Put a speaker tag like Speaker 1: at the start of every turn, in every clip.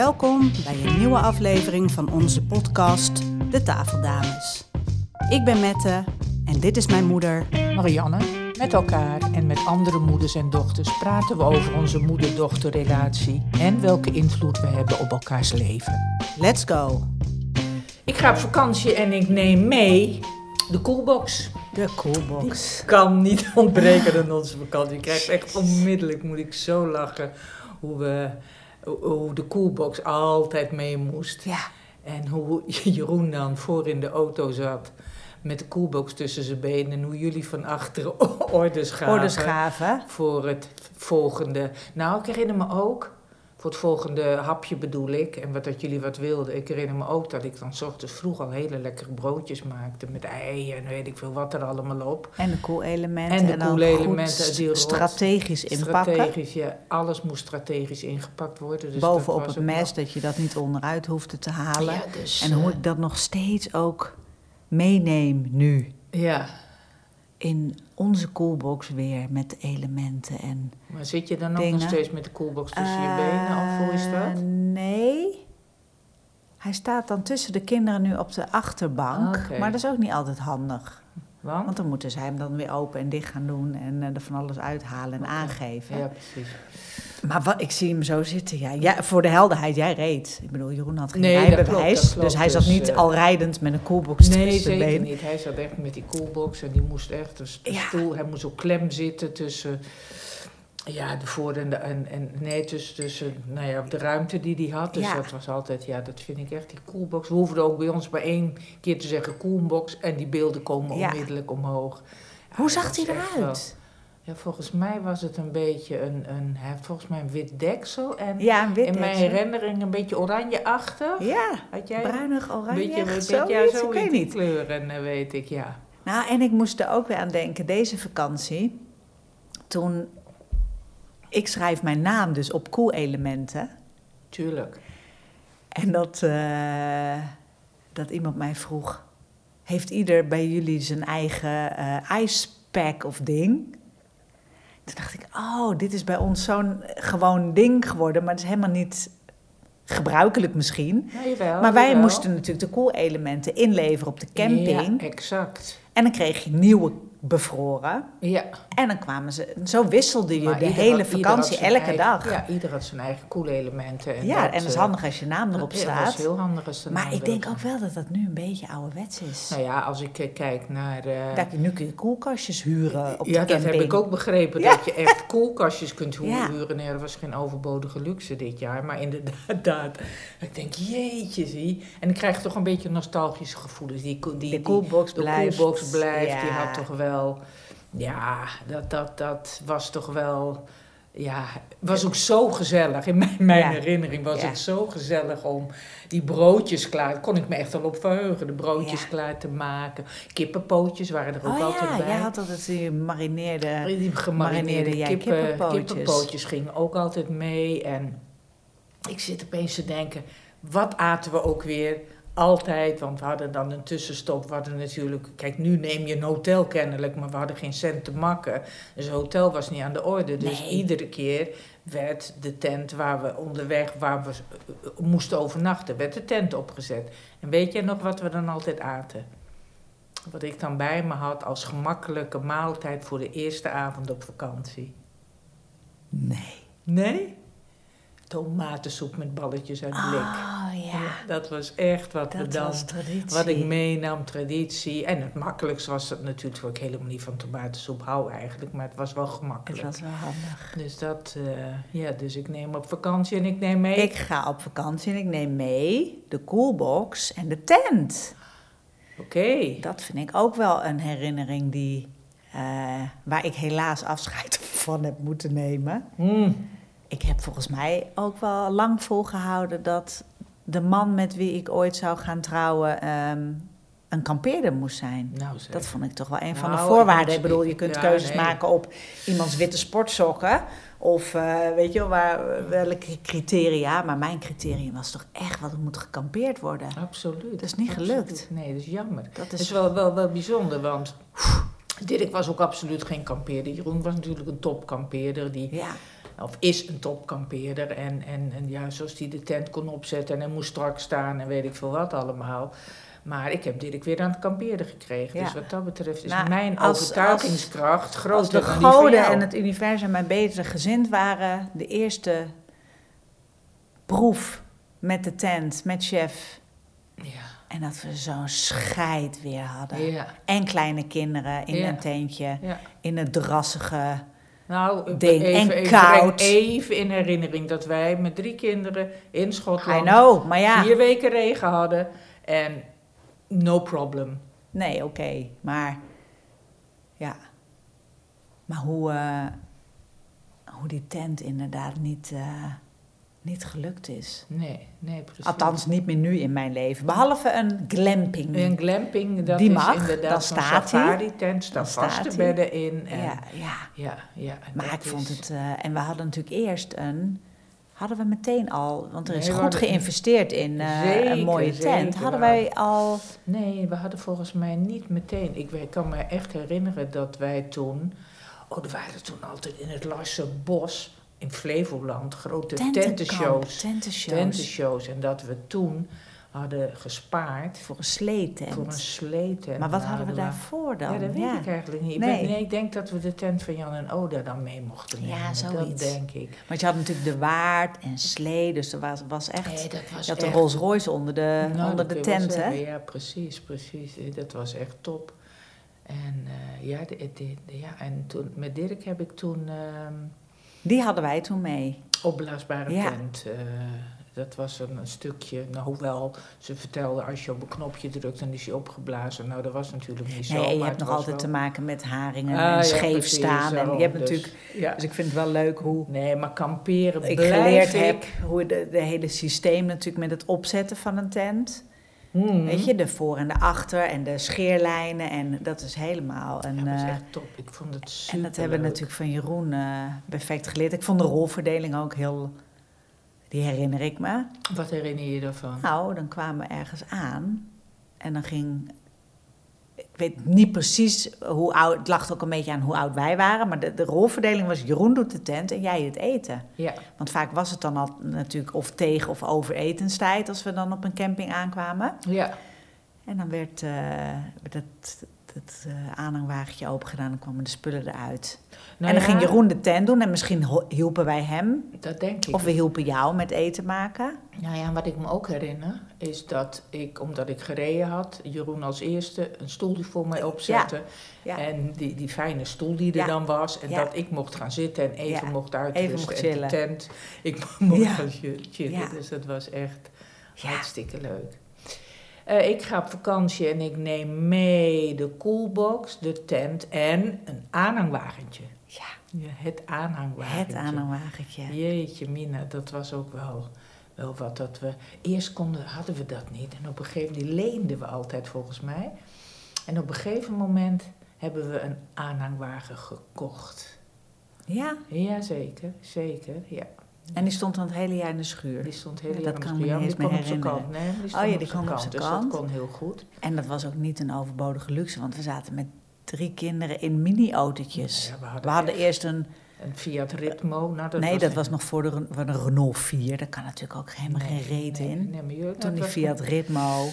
Speaker 1: Welkom bij een nieuwe aflevering van onze podcast De Tafeldames. Ik ben Mette en dit is mijn moeder.
Speaker 2: Marianne, met elkaar en met andere moeders en dochters praten we over onze moeder-dochterrelatie en welke invloed we hebben op elkaars leven.
Speaker 1: Let's go!
Speaker 2: Ik ga op vakantie en ik neem mee de koelbox.
Speaker 1: De coolbox.
Speaker 2: Kan niet ontbreken aan onze vakantie. Ik krijg echt onmiddellijk, moet ik zo lachen, hoe, we, hoe de koelbox altijd mee moest.
Speaker 1: Ja,
Speaker 2: En hoe Jeroen dan voor in de auto zat met de koelbox tussen zijn benen. En hoe jullie van achteren orders gaven
Speaker 1: ordensgaven.
Speaker 2: voor het volgende. Nou, ik herinner me ook, voor het volgende hapje bedoel ik, en wat dat jullie wat wilden. Ik herinner me ook dat ik dan 's ochtends vroeg al hele lekkere broodjes maakte met ei en weet ik veel wat er allemaal op.
Speaker 1: En de koelelementen.
Speaker 2: En de
Speaker 1: dan
Speaker 2: koelelementen,
Speaker 1: goed
Speaker 2: die rot-
Speaker 1: strategisch dus inpakken.
Speaker 2: Strategisch, ja, alles moest strategisch ingepakt worden. Dus
Speaker 1: boven
Speaker 2: dat
Speaker 1: op
Speaker 2: was
Speaker 1: het
Speaker 2: ook
Speaker 1: mes, dat je dat niet onderuit hoefde te
Speaker 2: wel-
Speaker 1: halen.
Speaker 2: Ja, dus,
Speaker 1: en hoe
Speaker 2: eh,
Speaker 1: ik dat nog steeds ook meeneem nu.
Speaker 2: eh, ja,
Speaker 1: In onze coolbox weer met de elementen en...
Speaker 2: maar zit je dan ook
Speaker 1: dingen.
Speaker 2: nog steeds met de koelbox tussen je benen of hoe is
Speaker 1: Eh,
Speaker 2: dat?
Speaker 1: Nee. Hij staat dan tussen de kinderen nu op de achterbank.
Speaker 2: Ah, oké.
Speaker 1: Maar dat is ook niet altijd handig.
Speaker 2: Want?
Speaker 1: Want dan moeten zij hem dan weer open en dicht gaan doen. En eh, er van alles uithalen en
Speaker 2: Oké.
Speaker 1: aangeven.
Speaker 2: Ja, precies.
Speaker 1: Maar wat, ik zie hem zo zitten. Ja. Ja, voor de helderheid, jij reed. Ik bedoel, Jeroen had geen
Speaker 2: Nee, dat klopt,
Speaker 1: rijbewijs.
Speaker 2: dat klopt.
Speaker 1: dus hij zat
Speaker 2: Dus,
Speaker 1: niet
Speaker 2: eh,
Speaker 1: al rijdend met een koelbox
Speaker 2: Nee,
Speaker 1: tussen de
Speaker 2: zeker
Speaker 1: benen.
Speaker 2: niet. Hij zat echt met die coolbox en die moest echt een st-
Speaker 1: Ja.
Speaker 2: stoel. Hij moest ook klem zitten tussen ja, de voor- en de. En, en, nee, tussen, tussen nou ja, de ruimte die hij had. Dus
Speaker 1: Ja.
Speaker 2: dat was altijd, ja, dat vind ik echt die coolbox. We hoefden ook bij ons maar één keer te zeggen coolbox en die beelden komen
Speaker 1: Ja.
Speaker 2: onmiddellijk omhoog. Ja,
Speaker 1: Hoe
Speaker 2: dat
Speaker 1: zag hij
Speaker 2: was echt wel-
Speaker 1: eruit?
Speaker 2: ja, volgens mij was het een beetje een, een hij had volgens mij een wit deksel en
Speaker 1: Ja, een wit
Speaker 2: in mijn
Speaker 1: deksel.
Speaker 2: herinnering een beetje oranje-achtig.
Speaker 1: Ja,
Speaker 2: Had jij
Speaker 1: bruinig,
Speaker 2: een
Speaker 1: oranje,
Speaker 2: beetje, een beetje
Speaker 1: zoiets,
Speaker 2: ja,
Speaker 1: ik weet
Speaker 2: zoiets, die
Speaker 1: niet.
Speaker 2: kleuren, eh, weet ik, ja.
Speaker 1: Nou, en ik moest er ook weer aan denken, deze vakantie. Toen. Ik schrijf mijn naam dus op koelelementen.
Speaker 2: Tuurlijk.
Speaker 1: En dat, eh, dat iemand mij vroeg: Heeft ieder bij jullie zijn eigen eh ijspack of ding? Toen dacht ik: Oh, dit is bij ons zo'n gewoon ding geworden, maar het is helemaal niet gebruikelijk misschien.
Speaker 2: Ja, Nou, jawel,
Speaker 1: Maar wij
Speaker 2: Oh, jawel.
Speaker 1: moesten natuurlijk de koelelementen inleveren op de camping.
Speaker 2: Ja, exact.
Speaker 1: En dan kreeg je nieuwe bevroren.
Speaker 2: Ja.
Speaker 1: En dan kwamen ze, zo wisselde je
Speaker 2: maar
Speaker 1: de
Speaker 2: ieder
Speaker 1: hele
Speaker 2: had- ieder had
Speaker 1: vakantie,
Speaker 2: zijn
Speaker 1: elke
Speaker 2: eigen-
Speaker 1: dag. Ja,
Speaker 2: Ja, ieder had zijn eigen coole elementen. En
Speaker 1: en dat is
Speaker 2: eh,
Speaker 1: handig als je naam erop
Speaker 2: dat- Dat is
Speaker 1: staat.
Speaker 2: heel handig als de
Speaker 1: Maar
Speaker 2: naam
Speaker 1: ik denk
Speaker 2: erop
Speaker 1: ook wel dat dat nu een beetje ouderwets
Speaker 2: staat.
Speaker 1: is.
Speaker 2: Nou ja, als ik eh, kijk naar... eh,
Speaker 1: Dat je, nu kun je koelkastjes huren op de
Speaker 2: ja, dat
Speaker 1: camping.
Speaker 2: heb ik ook begrepen.
Speaker 1: Ja.
Speaker 2: Dat je echt koelkastjes kunt hu-
Speaker 1: Ja.
Speaker 2: huren. Nee, dat was geen overbodige luxe dit jaar. Maar inderdaad, ik denk, jeetje zie. En ik krijg toch een beetje nostalgische gevoelens. Die, ko- die,
Speaker 1: De
Speaker 2: die,
Speaker 1: koelbox
Speaker 2: de
Speaker 1: blijft.
Speaker 2: koelbox blijft. Die
Speaker 1: Ja.
Speaker 2: had toch wel... Ja, dat, dat, dat was toch wel... Ja, was ook zo gezellig. In mijn, mijn
Speaker 1: Ja.
Speaker 2: herinnering was
Speaker 1: Ja.
Speaker 2: het zo gezellig om die broodjes klaar... Kon ik me echt al op verheugen, de broodjes
Speaker 1: Ja.
Speaker 2: klaar te maken. Kippenpootjes waren er ook
Speaker 1: Oh
Speaker 2: altijd
Speaker 1: ja,
Speaker 2: bij.
Speaker 1: jij had altijd die marineerde...
Speaker 2: Die
Speaker 1: Marineerde
Speaker 2: gemarineerde
Speaker 1: jij
Speaker 2: kippen,
Speaker 1: kippenpootjes.
Speaker 2: kippenpootjes. gingen ook altijd mee. En ik zit opeens te denken, wat aten we ook weer altijd? Want we hadden dan een tussenstop. We hadden natuurlijk, kijk, nu neem je een hotel kennelijk, maar we hadden geen cent te makken. Dus hotel was niet aan de orde. Dus
Speaker 1: Nee.
Speaker 2: iedere keer werd de tent waar we onderweg, waar we eh, eh, moesten overnachten, werd de tent opgezet. En weet jij nog wat we dan altijd aten? Wat ik dan bij me had als gemakkelijke maaltijd voor de eerste avond op vakantie.
Speaker 1: Nee.
Speaker 2: Nee? Tomatensoep met balletjes uit blik.
Speaker 1: Oh ja,
Speaker 2: Dat was echt wat we
Speaker 1: dat
Speaker 2: dan...
Speaker 1: was traditie.
Speaker 2: Wat ik meenam, traditie. En het makkelijkst was dat natuurlijk, terwijl ik helemaal niet van tomatensoep hou eigenlijk, maar het was wel
Speaker 1: Het
Speaker 2: gemakkelijk.
Speaker 1: was wel handig.
Speaker 2: Dus dat, eh, ja, dus ik neem op vakantie en ik neem mee.
Speaker 1: Ik ga op vakantie en ik neem mee de koelbox en de tent.
Speaker 2: Oké.
Speaker 1: Dat vind ik ook wel een herinnering die, eh, waar ik helaas afscheid van heb moeten nemen.
Speaker 2: Hmm.
Speaker 1: Ik heb volgens mij ook wel lang volgehouden dat de man met wie ik ooit zou gaan trouwen ehm, een kampeerder moest zijn.
Speaker 2: Nou, zeg.
Speaker 1: Dat vond ik toch wel een van de
Speaker 2: Nou, ik
Speaker 1: voorwaarden.
Speaker 2: moet-
Speaker 1: Ik bedoel, je kunt
Speaker 2: ja,
Speaker 1: keuzes
Speaker 2: nee.
Speaker 1: maken op iemands witte sportsokken. Of eh, weet je wel, waar, welke criteria. Maar mijn criterium was toch echt wat er moet gekampeerd worden.
Speaker 2: Absoluut.
Speaker 1: Dat is niet
Speaker 2: Absoluut.
Speaker 1: gelukt.
Speaker 2: Nee, dat is jammer.
Speaker 1: Dat
Speaker 2: Het
Speaker 1: is
Speaker 2: is wel, wel, wel bijzonder, want Dirk was ook absoluut geen kampeerder. Jeroen was natuurlijk een topkampeerder. Die,
Speaker 1: ja,
Speaker 2: of is een topkampeerder. En, en, en ja, zoals die de tent kon opzetten en moest strak staan en weet ik veel wat allemaal. Maar ik heb Dirk weer aan het kampeerder gekregen.
Speaker 1: Ja.
Speaker 2: Dus wat dat betreft is
Speaker 1: Nou,
Speaker 2: mijn
Speaker 1: als-
Speaker 2: overtuigingskracht groter
Speaker 1: Als de
Speaker 2: dan die van
Speaker 1: goden
Speaker 2: jou.
Speaker 1: en het universum mij beter gezind waren, de eerste proef met de tent, met chef.
Speaker 2: Ja,
Speaker 1: En dat we zo'n scheid weer hadden.
Speaker 2: ja,
Speaker 1: En kleine kinderen in
Speaker 2: Ja.
Speaker 1: een tentje,
Speaker 2: ja.
Speaker 1: in het drassige.
Speaker 2: Nou, ik
Speaker 1: Ding.
Speaker 2: even,
Speaker 1: En
Speaker 2: ik
Speaker 1: koud.
Speaker 2: breng even in herinnering dat wij met drie kinderen in
Speaker 1: I
Speaker 2: Schotland
Speaker 1: know, maar ja.
Speaker 2: vier weken regen hadden. En no problem.
Speaker 1: Nee, oké, maar ja. Maar hoe, eh, hoe die tent inderdaad niet, eh, niet gelukt is.
Speaker 2: Nee, nee, precies.
Speaker 1: Althans, niet meer nu in mijn leven. Behalve een glamping.
Speaker 2: Een glamping, dat
Speaker 1: Mm. Die
Speaker 2: is
Speaker 1: mag,
Speaker 2: inderdaad
Speaker 1: dan
Speaker 2: zo'n
Speaker 1: staat hij.
Speaker 2: safari-tent. Staan
Speaker 1: Dan staat
Speaker 2: vaste
Speaker 1: hij.
Speaker 2: bedden in. En,
Speaker 1: ja,
Speaker 2: ja.
Speaker 1: ja.
Speaker 2: Ja, en
Speaker 1: Maar
Speaker 2: dat
Speaker 1: ik vond
Speaker 2: is-
Speaker 1: het... eh, en we hadden natuurlijk eerst een... Hadden we meteen al... Want er is
Speaker 2: Nee, we
Speaker 1: goed
Speaker 2: hadden-
Speaker 1: geïnvesteerd in eh,
Speaker 2: Zeker,
Speaker 1: een mooie tent.
Speaker 2: zeker.
Speaker 1: Hadden wij al...
Speaker 2: Nee, we hadden volgens mij niet meteen... Ik, weet- kan me echt herinneren dat wij toen... Oh, er waren toen altijd in het Larse Bos in Flevoland grote
Speaker 1: Tentenkamp,
Speaker 2: tentenshows.
Speaker 1: Tentenshows.
Speaker 2: Tentenshows. En dat we toen hadden gespaard
Speaker 1: Voor een sleetent.
Speaker 2: voor een sleetent.
Speaker 1: Maar wat hadden we
Speaker 2: daar?
Speaker 1: daarvoor dan?
Speaker 2: Ja, dat weet ik eigenlijk niet. Ik
Speaker 1: Nee.
Speaker 2: weet- nee, ik denk dat we de tent van Jan en Oda dan mee mochten
Speaker 1: Ja,
Speaker 2: nemen.
Speaker 1: zoiets.
Speaker 2: Dat denk ik.
Speaker 1: Want je had natuurlijk de waard en slee. Dus er was, was echt...
Speaker 2: Nee, dat was
Speaker 1: je had de
Speaker 2: echt-
Speaker 1: Rolls Royce onder de,
Speaker 2: Nou,
Speaker 1: eh, onder
Speaker 2: dat
Speaker 1: de
Speaker 2: kun je wel
Speaker 1: tent, hè?
Speaker 2: zeggen. Ja, precies, precies. Eh, Dat was echt top. En, eh, ja, de- de- de- ja, en toen, met Dirk heb ik toen ehm
Speaker 1: Die hadden wij toen mee.
Speaker 2: opblaasbare
Speaker 1: Ja.
Speaker 2: tent. eh, dat was een, een stukje, nou, hoewel ze vertelde als je op een knopje drukt dan is je opgeblazen. Nou, dat was natuurlijk niet zo.
Speaker 1: Nee, en je
Speaker 2: maar
Speaker 1: hebt
Speaker 2: het
Speaker 1: nog
Speaker 2: was
Speaker 1: altijd te
Speaker 2: wel-
Speaker 1: maken met haringen
Speaker 2: Ah, ja,
Speaker 1: en scheef
Speaker 2: precies,
Speaker 1: staan. En
Speaker 2: daarom,
Speaker 1: je hebt
Speaker 2: dus,
Speaker 1: natuurlijk...
Speaker 2: ja.
Speaker 1: Dus ik vind het wel leuk hoe
Speaker 2: Nee, maar kamperen
Speaker 1: ik
Speaker 2: blijf
Speaker 1: geleerd
Speaker 2: ik.
Speaker 1: heb hoe de, de hele systeem natuurlijk met het opzetten van een tent.
Speaker 2: Hmm.
Speaker 1: Weet je, de voor en de achter en de scheerlijnen en dat is helemaal een.
Speaker 2: Ja, dat is
Speaker 1: eh,
Speaker 2: echt top. Ik vond het super.
Speaker 1: en dat hebben we natuurlijk van Jeroen eh, perfect geleerd. Ik vond de rolverdeling ook heel. Die herinner ik me.
Speaker 2: Wat herinner je je daarvan?
Speaker 1: Nou, dan kwamen we ergens aan en dan ging. Ik weet niet precies hoe oud. Het lag ook een beetje aan hoe oud wij waren. Maar de, de rolverdeling was: Jeroen doet de tent en jij het eten.
Speaker 2: Ja,
Speaker 1: Want vaak was het dan al natuurlijk of tegen of over etenstijd als we dan op een camping aankwamen.
Speaker 2: ja.
Speaker 1: En dan werd eh, werd dat, dat eh, aanhangwagentje opengedaan en kwamen de spullen eruit.
Speaker 2: Nou
Speaker 1: en dan
Speaker 2: ja,
Speaker 1: ging Jeroen de tent doen en misschien ho- hielpen wij hem.
Speaker 2: Dat denk ik.
Speaker 1: Of we hielpen jou met eten maken.
Speaker 2: Nou ja, wat ik me ook herinner is dat ik, omdat ik gereden had, Jeroen als eerste een stoel die voor mij opzette.
Speaker 1: Ja.
Speaker 2: En die, die fijne stoel die er
Speaker 1: Ja.
Speaker 2: dan was. En
Speaker 1: Ja.
Speaker 2: dat ik mocht gaan zitten en even
Speaker 1: Ja.
Speaker 2: mocht uitrusten.
Speaker 1: Even mocht
Speaker 2: En
Speaker 1: chillen.
Speaker 2: de tent, ik mocht
Speaker 1: Ja.
Speaker 2: gaan chi- chillen.
Speaker 1: Ja.
Speaker 2: Dus dat was echt
Speaker 1: Ja,
Speaker 2: hartstikke leuk. Eh, ik ga op vakantie en ik neem mee de koelbox, de tent en een aanhangwagentje.
Speaker 1: ja.
Speaker 2: Ja, het aanhangwagentje.
Speaker 1: het aanhangwagentje.
Speaker 2: Jeetje, Mina, dat was ook wel, wel wat dat we. Eerst konden, hadden we dat niet. En op een gegeven moment die leenden we altijd volgens mij. En op een gegeven moment hebben we een aanhangwagen gekocht.
Speaker 1: Ja,
Speaker 2: Ja, zeker, zeker. Ja.
Speaker 1: en die stond dan het hele jaar in de schuur.
Speaker 2: Die stond heel
Speaker 1: Dat
Speaker 2: erg
Speaker 1: kan ik me niet eens meer
Speaker 2: die kon op zijn
Speaker 1: herinneren.
Speaker 2: kant. Nee, die
Speaker 1: Oh ja,
Speaker 2: stond
Speaker 1: die
Speaker 2: op zijn
Speaker 1: kwam op
Speaker 2: kant.
Speaker 1: zijn
Speaker 2: Dus dat
Speaker 1: kant.
Speaker 2: kon heel goed.
Speaker 1: En dat was ook niet een overbodige luxe, want we zaten met drie kinderen in mini-autootjes.
Speaker 2: Nou Ja, we
Speaker 1: We
Speaker 2: hadden
Speaker 1: hadden
Speaker 2: echt
Speaker 1: eerst een
Speaker 2: een Fiat Ritmo. Nou, dat
Speaker 1: nee,
Speaker 2: was
Speaker 1: dat was nog voor de, Ren- voor de Renault 4. Daar kan natuurlijk ook helemaal
Speaker 2: Nee,
Speaker 1: geen reet
Speaker 2: nee,
Speaker 1: in.
Speaker 2: nee, maar joh, dat
Speaker 1: Toen die
Speaker 2: was-
Speaker 1: Fiat Ritmo.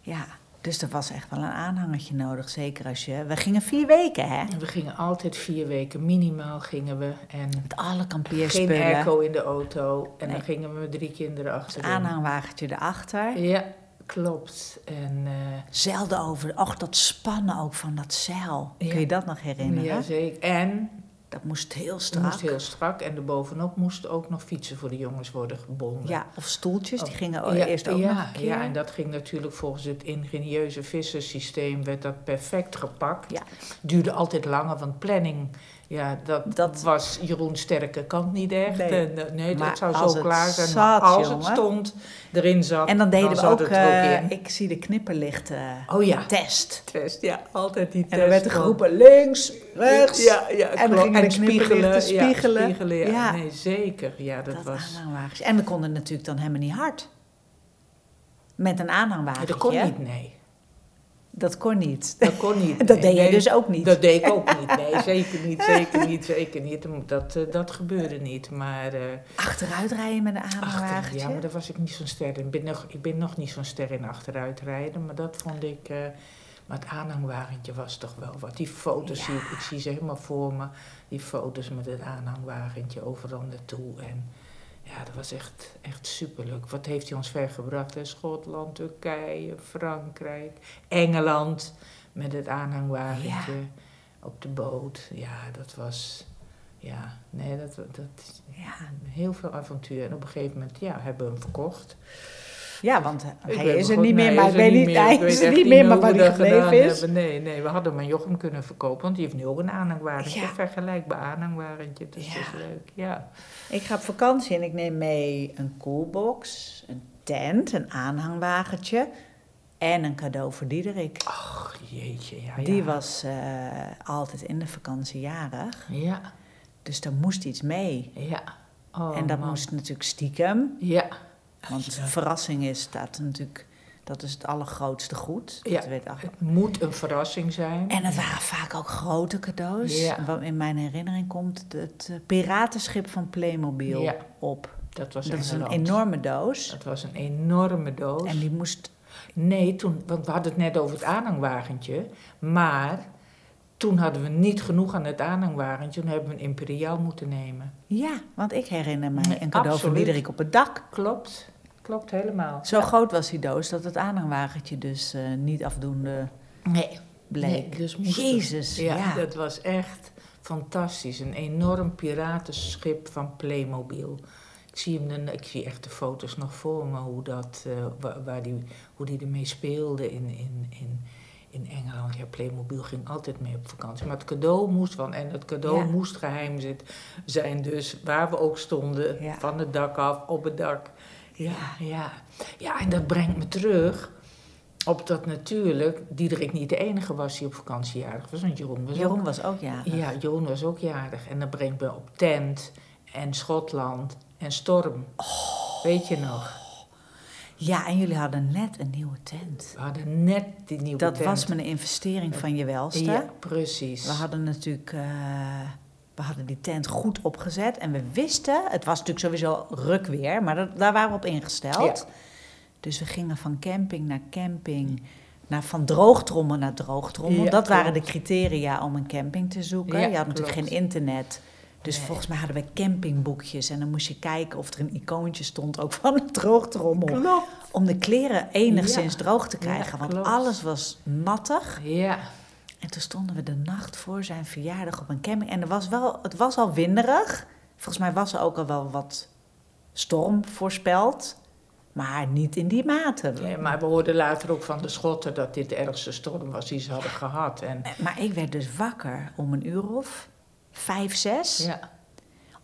Speaker 1: Ja, dus er was echt wel een aanhangertje nodig. Zeker als je... We gingen vier weken, hè?
Speaker 2: We gingen altijd vier weken minimaal gingen we. En
Speaker 1: Met alle
Speaker 2: Geen
Speaker 1: kampeerspullen.
Speaker 2: airco in de auto. En
Speaker 1: Nee.
Speaker 2: dan gingen we met drie kinderen achterin.
Speaker 1: Aanhangwagentje erachter.
Speaker 2: Ja, klopt. En eh,
Speaker 1: Zelden over. Och, dat spannen ook van dat zeil.
Speaker 2: Ja.
Speaker 1: Kun je dat nog herinneren?
Speaker 2: ja, zeker. En
Speaker 1: Dat moest heel
Speaker 2: het
Speaker 1: strak.
Speaker 2: moest heel strak. En erbovenop moesten ook nog fietsen voor de jongens worden gebonden.
Speaker 1: Ja, of stoeltjes. Die
Speaker 2: Oh,
Speaker 1: gingen o-
Speaker 2: Ja,
Speaker 1: eerst ook
Speaker 2: ja,
Speaker 1: nog een keer.
Speaker 2: ja, en dat ging natuurlijk volgens het ingenieuze vissersysteem werd dat perfect gepakt.
Speaker 1: Ja.
Speaker 2: Duurde altijd langer, want planning, ja, dat,
Speaker 1: Dat-
Speaker 2: was Jeroen sterke kant niet echt.
Speaker 1: Nee.
Speaker 2: En, eh, nee,
Speaker 1: Maar
Speaker 2: dat zou
Speaker 1: als
Speaker 2: zo
Speaker 1: het
Speaker 2: klaar zijn.
Speaker 1: zat,
Speaker 2: maar als
Speaker 1: jongen.
Speaker 2: het stond, erin zat,
Speaker 1: En dan deden we
Speaker 2: zat
Speaker 1: ook...
Speaker 2: het
Speaker 1: eh,
Speaker 2: er ook in.
Speaker 1: ik zie de knipperlichten
Speaker 2: Oh ja,
Speaker 1: test.
Speaker 2: test. Ja, altijd die test.
Speaker 1: En dan werd er
Speaker 2: van-
Speaker 1: geroepen links, rechts.
Speaker 2: Dus Ja, ja,
Speaker 1: En dan
Speaker 2: klopt.
Speaker 1: gingen de
Speaker 2: en spiegelen.
Speaker 1: knipperlichten spiegelen.
Speaker 2: Ja, spiegelen ja.
Speaker 1: Ja.
Speaker 2: Nee, zeker. Ja, dat,
Speaker 1: dat
Speaker 2: was...
Speaker 1: aanhangwagens. En we konden natuurlijk dan helemaal niet hard. Met een aanhangwagen.
Speaker 2: dat kon niet, nee.
Speaker 1: Dat kon niet.
Speaker 2: Dat kon niet.
Speaker 1: Dat
Speaker 2: Nee,
Speaker 1: deed jij
Speaker 2: nee.
Speaker 1: dus ook niet.
Speaker 2: Dat deed ik ook niet. Nee, zeker niet, zeker niet, zeker niet. Dat, eh, dat gebeurde niet. Maar eh,
Speaker 1: Achteruitrijden met een
Speaker 2: achter,
Speaker 1: aanhangwagentje?
Speaker 2: ja, maar daar was ik niet zo'n ster in. Ik ben nog, ik ben nog niet zo'n ster in achteruitrijden, maar dat vond ik... eh, maar het aanhangwagentje was toch wel wat. Die foto's zie ik, ik zie ze helemaal voor me. Die foto's met het aanhangwagentje overal naartoe. En ja, dat was echt, echt superleuk. Wat heeft hij ons vergebracht? Hè? Schotland, Turkije, Frankrijk, Engeland met het aanhangwagentje op de boot. Ja, dat was... Ja, nee, dat, dat,
Speaker 1: Ja.
Speaker 2: Heel veel avontuur. En op een gegeven moment ja, hebben we hem verkocht.
Speaker 1: Ja, want eh,
Speaker 2: Ik
Speaker 1: hij
Speaker 2: weet
Speaker 1: is
Speaker 2: nog
Speaker 1: er
Speaker 2: goed,
Speaker 1: niet
Speaker 2: nee,
Speaker 1: meer, maar ik weet niet, hij
Speaker 2: Ik weet
Speaker 1: is er
Speaker 2: echt
Speaker 1: niet meer, maar
Speaker 2: hoe
Speaker 1: waar
Speaker 2: we
Speaker 1: hij
Speaker 2: dat gedaan
Speaker 1: gebleven is.
Speaker 2: hebben. Nee, nee, we hadden mijn Jochem kunnen verkopen, want die heeft nu ook een aanhangwagentje.
Speaker 1: Ja.
Speaker 2: Een vergelijkbaar aanhangwagentje. Dus dat is
Speaker 1: Ja.
Speaker 2: leuk. Ja.
Speaker 1: Ik ga op vakantie en ik neem mee een koelbox, een tent, een aanhangwagentje en een cadeau voor Diederik.
Speaker 2: Ach, jeetje. Ja, Oh ja.
Speaker 1: Die was eh, altijd in de vakantie jarig,
Speaker 2: Ja,
Speaker 1: dus daar moest iets mee.
Speaker 2: ja. Oh,
Speaker 1: en dat
Speaker 2: man.
Speaker 1: moest natuurlijk stiekem,
Speaker 2: Ja,
Speaker 1: want verrassing is dat natuurlijk, dat is het allergrootste goed. Dat
Speaker 2: Ja.
Speaker 1: weet ach-
Speaker 2: het moet een verrassing zijn.
Speaker 1: En het waren vaak ook grote cadeaus.
Speaker 2: Ja.
Speaker 1: Wat in mijn herinnering komt het eh, piratenschip van Playmobil
Speaker 2: Ja.
Speaker 1: op.
Speaker 2: Dat was
Speaker 1: dat is een
Speaker 2: Engeland.
Speaker 1: enorme doos.
Speaker 2: Dat was een enorme doos.
Speaker 1: En die moest
Speaker 2: Nee, toen, want we hadden het net over het aanhangwagentje. Maar toen hadden we niet genoeg aan het aanhangwagentje. Toen hebben we een imperiaal moeten nemen.
Speaker 1: Ja, want ik herinner mij
Speaker 2: Nee,
Speaker 1: een cadeau van
Speaker 2: absoluut.
Speaker 1: Diederik op het dak.
Speaker 2: Klopt, klopt helemaal.
Speaker 1: Zo groot was die doos dat het aanhangwagentje dus eh, niet afdoende
Speaker 2: Nee,
Speaker 1: bleek.
Speaker 2: Nee, dus moesten.
Speaker 1: Jezus, ja.
Speaker 2: Ja, dat was echt fantastisch. Een enorm piratenschip van Playmobil. Ik zie, hem dan, ik zie echt de foto's nog voor me, hoe, dat, eh, wa- waar die, hoe die ermee speelde in, in, in, in Engeland. Ja, Playmobil ging altijd mee op vakantie. Maar het cadeau moest van, en dat cadeau
Speaker 1: Ja.
Speaker 2: moest geheim zit, zijn dus, waar we ook stonden,
Speaker 1: Ja.
Speaker 2: van het dak af, op het dak. Ja, ja. ja, en dat brengt me terug op dat natuurlijk Diederik niet de enige was die op vakantiejarig was. Want Jeroen was
Speaker 1: Jeroen was ook
Speaker 2: ook...
Speaker 1: jarig.
Speaker 2: Ja, Jeroen was ook jarig. En dat brengt me op Tent en Schotland en Storm.
Speaker 1: Oh.
Speaker 2: Weet je nog?
Speaker 1: Ja, en jullie hadden net een nieuwe tent.
Speaker 2: We hadden net die nieuwe
Speaker 1: Dat
Speaker 2: tent.
Speaker 1: was mijn investering van je welste.
Speaker 2: Ja, precies.
Speaker 1: We hadden natuurlijk... eh, we hadden die tent goed opgezet en we wisten... Het was natuurlijk sowieso ruk weer, maar dat, daar waren we op ingesteld. Dus we gingen van camping naar camping, naar, van droogtrommel naar droogtrommel. dat
Speaker 2: Ja, klopt.
Speaker 1: waren de criteria om een camping te zoeken.
Speaker 2: Ja,
Speaker 1: je had natuurlijk
Speaker 2: klopt.
Speaker 1: geen internet. Dus
Speaker 2: Nee.
Speaker 1: volgens mij hadden we campingboekjes. En dan moest je kijken of er een icoontje stond, ook van een droogtrommel.
Speaker 2: Klopt.
Speaker 1: Om de kleren enigszins droog te
Speaker 2: Ja,
Speaker 1: krijgen. want
Speaker 2: klopt.
Speaker 1: alles was nattig.
Speaker 2: Ja,
Speaker 1: En toen stonden we de nacht voor zijn verjaardag op een camping. En er was wel, het was al winderig. Volgens mij was er ook al wel wat storm voorspeld. Maar niet in die mate.
Speaker 2: Nee, maar we hoorden later ook van de Schotten dat dit de ergste storm was die ze hadden gehad. En,
Speaker 1: Maar ik werd dus wakker om een uur of vijf, zes.
Speaker 2: ja.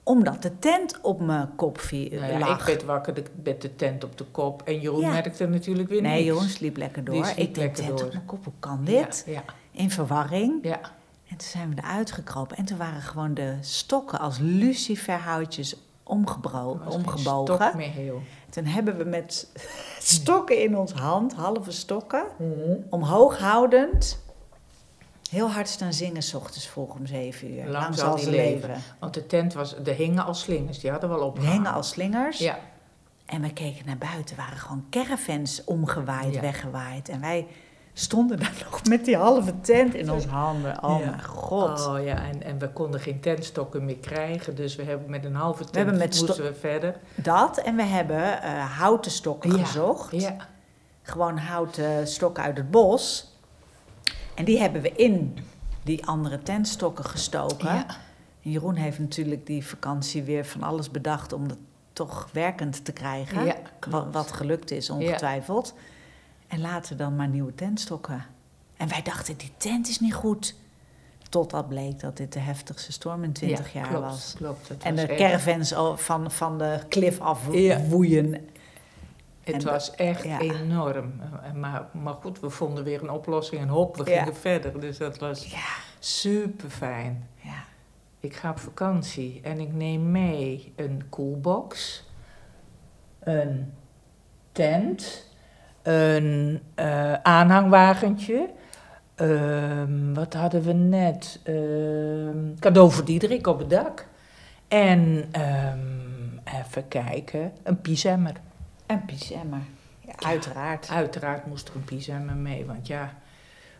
Speaker 1: Omdat de tent op mijn kop viel,
Speaker 2: Nou ja, ik
Speaker 1: lag.
Speaker 2: werd wakker de- met de tent op de kop. En Jeroen
Speaker 1: Ja.
Speaker 2: merkte natuurlijk weer
Speaker 1: nee,
Speaker 2: niks.
Speaker 1: Jeroen sliep lekker door.
Speaker 2: Die sliep
Speaker 1: ik denk,
Speaker 2: lekker
Speaker 1: tent
Speaker 2: door.
Speaker 1: op mijn kop, hoe kan dit?
Speaker 2: Ja, ja,
Speaker 1: In verwarring.
Speaker 2: ja.
Speaker 1: En toen zijn we eruit gekropen. En toen waren gewoon de stokken als luciferhoutjes omgebro-
Speaker 2: Er was geen
Speaker 1: omgebogen.
Speaker 2: Stok meer heel.
Speaker 1: Toen hebben we met stokken in ons hand, halve stokken, omhoog houdend, heel hard staan zingen, s ochtends vroeg om zeven uur.
Speaker 2: Lang zal die leven. Want de tent was, er hingen al slingers, die hadden we al
Speaker 1: We
Speaker 2: opgehangen.
Speaker 1: hingen als slingers
Speaker 2: Ja,
Speaker 1: en we keken naar buiten, waren gewoon caravans omgewaaid,
Speaker 2: Ja.
Speaker 1: weggewaaid. En wij stonden daar nog met die halve tent in onze handen. Oh
Speaker 2: Ja.
Speaker 1: mijn god.
Speaker 2: Oh ja, en, en we konden geen tentstokken meer krijgen, dus we hebben met een halve tent
Speaker 1: hebben met
Speaker 2: moesten
Speaker 1: sto-
Speaker 2: we verder.
Speaker 1: Dat en we hebben eh, houten stokken
Speaker 2: Ja.
Speaker 1: gezocht.
Speaker 2: Ja,
Speaker 1: gewoon houten stokken uit het bos. En die hebben we in die andere tentstokken gestoken.
Speaker 2: Ja.
Speaker 1: En Jeroen heeft natuurlijk die vakantie weer van alles bedacht om dat toch werkend te krijgen.
Speaker 2: Ja,
Speaker 1: wat, wat gelukt is, ongetwijfeld. En later dan maar nieuwe tentstokken. En wij dachten, die tent is niet goed. Totdat bleek dat dit de heftigste storm in 20
Speaker 2: ja,
Speaker 1: jaar
Speaker 2: klopt,
Speaker 1: was.
Speaker 2: Klopt, het
Speaker 1: En
Speaker 2: was
Speaker 1: de
Speaker 2: echt-
Speaker 1: caravans al van, van de klif af
Speaker 2: Ja.
Speaker 1: woeien.
Speaker 2: Het
Speaker 1: en
Speaker 2: was echt
Speaker 1: ja.
Speaker 2: enorm. En Maar, maar goed, we vonden weer een oplossing en hop, we
Speaker 1: Ja.
Speaker 2: gingen verder. Dus dat was
Speaker 1: Ja,
Speaker 2: super fijn.
Speaker 1: ja.
Speaker 2: Ik ga op vakantie en ik neem mee een koelbox, een tent, een eh, aanhangwagentje, Ehm, wat hadden we net? Ehm, cadeau voor Diederik op het dak. En ehm, even kijken, een pieshemmer.
Speaker 1: En pyjama. Ja, uiteraard.
Speaker 2: Uiteraard moest er een pieshemmer mee, want ja...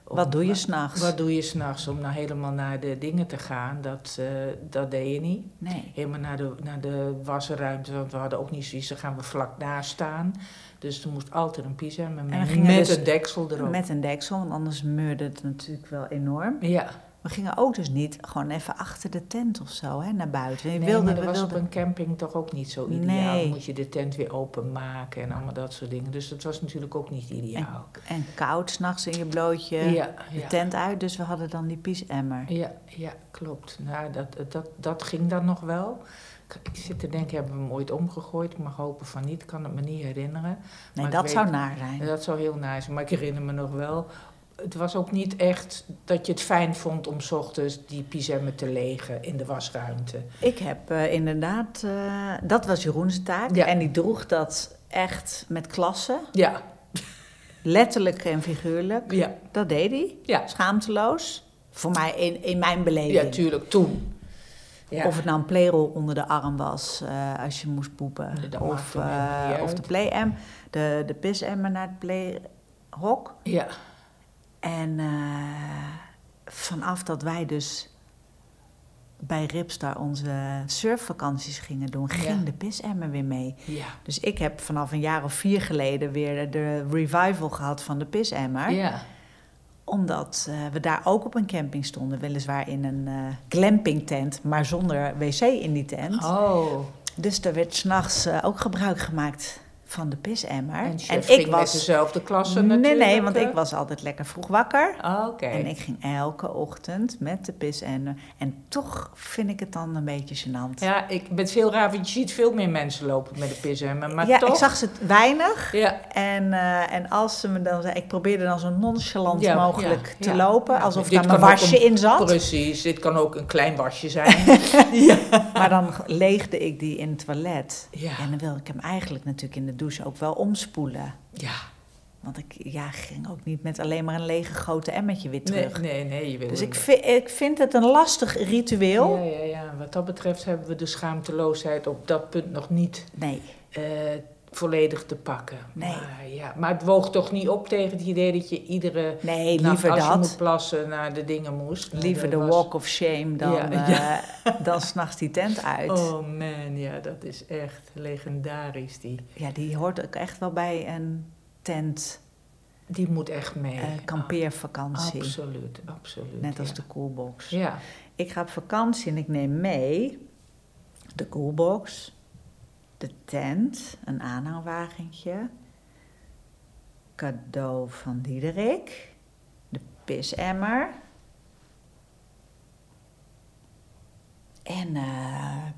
Speaker 2: om-
Speaker 1: Wat doe je s'nachts?
Speaker 2: Wat doe je s'nachts om nou helemaal naar de dingen te gaan? Dat, eh, dat deed je niet.
Speaker 1: Nee.
Speaker 2: Helemaal naar de, naar de wasruimte, want we hadden ook niet zoiets, dan gaan we vlak daar staan. Dus er moest altijd een pyjama mee,
Speaker 1: dan
Speaker 2: met
Speaker 1: gingen we dus-
Speaker 2: een deksel erop.
Speaker 1: Met een deksel, want anders meurde het natuurlijk wel enorm.
Speaker 2: Ja,
Speaker 1: We gingen ook dus niet gewoon even achter de tent of zo, hè, naar buiten. We
Speaker 2: nee,
Speaker 1: wilden,
Speaker 2: maar dat
Speaker 1: we
Speaker 2: was
Speaker 1: wilden...
Speaker 2: op een camping toch ook niet zo ideaal.
Speaker 1: Nee.
Speaker 2: Dan moet je de tent weer openmaken en allemaal dat soort dingen. Dus dat was natuurlijk ook niet ideaal.
Speaker 1: En koud, s'nachts in je blootje,
Speaker 2: ja,
Speaker 1: de
Speaker 2: ja.
Speaker 1: tent uit. Dus we hadden dan die piesemmer.
Speaker 2: Ja, ja klopt. Nou, dat, dat, dat ging dan nog wel. Ik, ik zit te denken, hebben we hem ooit omgegooid? Ik mag hopen van niet, ik kan het me niet herinneren.
Speaker 1: Nee,
Speaker 2: ik
Speaker 1: dat
Speaker 2: weet-
Speaker 1: zou naar zijn.
Speaker 2: Dat zou heel nice zijn, maar ik herinner me nog wel. Het was ook niet echt dat je het fijn vond om 's ochtends die pyjama te legen in de wasruimte.
Speaker 1: Ik heb eh, inderdaad, eh, dat was Jeroen's taak.
Speaker 2: Ja.
Speaker 1: En die droeg dat echt met klasse.
Speaker 2: Ja,
Speaker 1: Letterlijk en figuurlijk.
Speaker 2: ja,
Speaker 1: Dat deed hij.
Speaker 2: ja.
Speaker 1: Schaamteloos. Voor mij, in, in mijn beleving.
Speaker 2: Ja, tuurlijk, toen. Ja.
Speaker 1: Of het nou een playrol onder de arm was eh, als je moest poepen.
Speaker 2: Nee, dat
Speaker 1: of,
Speaker 2: maakt hem helemaal
Speaker 1: eh,
Speaker 2: niet
Speaker 1: of
Speaker 2: uit.
Speaker 1: de play de, de pisemmer naar het playhok.
Speaker 2: ja,
Speaker 1: En eh, vanaf dat wij dus bij Ripstar onze surfvakanties gingen doen, ging
Speaker 2: Ja.
Speaker 1: de pisemmer weer mee.
Speaker 2: ja,
Speaker 1: Dus ik heb vanaf een jaar of vier geleden weer de revival gehad van de pisemmer.
Speaker 2: ja.
Speaker 1: Omdat eh, we daar ook op een camping stonden. Weliswaar in een eh glamping tent, maar zonder wc in die tent.
Speaker 2: Oh,
Speaker 1: Dus er werd s'nachts eh ook gebruik gemaakt van de pisemmer.
Speaker 2: en, Chef ging met dezelfde klasse
Speaker 1: Nee,
Speaker 2: natuurlijk.
Speaker 1: nee, want
Speaker 2: hè?
Speaker 1: ik was altijd lekker vroeg wakker.
Speaker 2: Oh, Oké.
Speaker 1: En ik ging elke ochtend met de pisemmer. En toch vind ik het dan een beetje gênant.
Speaker 2: Ja, ik ben veel raar, want je ziet veel meer mensen lopen met een pishemmer. Maar
Speaker 1: Ja,
Speaker 2: toch...
Speaker 1: ik zag ze t- weinig.
Speaker 2: Ja,
Speaker 1: En, eh, en als ze me dan zei, ik probeerde dan zo nonchalant
Speaker 2: Ja,
Speaker 1: mogelijk
Speaker 2: ja,
Speaker 1: te
Speaker 2: ja.
Speaker 1: lopen,
Speaker 2: Ja,
Speaker 1: alsof
Speaker 2: dit
Speaker 1: daar mijn
Speaker 2: kan ook
Speaker 1: wasje in zat.
Speaker 2: precies. Dit kan ook een klein wasje zijn.
Speaker 1: Maar dan leegde ik die in het toilet.
Speaker 2: ja.
Speaker 1: En dan wilde ik hem eigenlijk natuurlijk in de douche ook wel omspoelen.
Speaker 2: ja.
Speaker 1: Want ik ja, ging ook niet met alleen maar een lege grote emmetje weer
Speaker 2: Nee,
Speaker 1: terug.
Speaker 2: nee, nee. Je wil
Speaker 1: Dus
Speaker 2: het
Speaker 1: ik,
Speaker 2: niet.
Speaker 1: vi- ik vind het een lastig ritueel.
Speaker 2: Ja, ja, ja. Wat dat betreft hebben we de schaamteloosheid op dat punt nog niet
Speaker 1: Nee,
Speaker 2: eh, volledig te pakken.
Speaker 1: Nee.
Speaker 2: Maar, ja. maar het woog toch niet op tegen het idee dat je iedere
Speaker 1: nee
Speaker 2: nacht
Speaker 1: liever
Speaker 2: Nou, als je
Speaker 1: dat.
Speaker 2: moet plassen naar de dingen moest. Maar
Speaker 1: Liever
Speaker 2: dat
Speaker 1: de
Speaker 2: was-
Speaker 1: walk of shame dan,
Speaker 2: Ja,
Speaker 1: eh dan s'nachts die tent uit.
Speaker 2: Oh man, ja, dat is echt legendarisch. Die,
Speaker 1: Ja, die hoort ook echt wel bij een tent
Speaker 2: die moet echt mee.
Speaker 1: eh, kampeervakantie.
Speaker 2: Absoluut, absoluut.
Speaker 1: Net als
Speaker 2: ja.
Speaker 1: de coolbox.
Speaker 2: Ja,
Speaker 1: Ik ga op vakantie en ik neem mee de koelbox, de tent, een aanhangwagentje, cadeau van Diederik, de pisemmer en eh,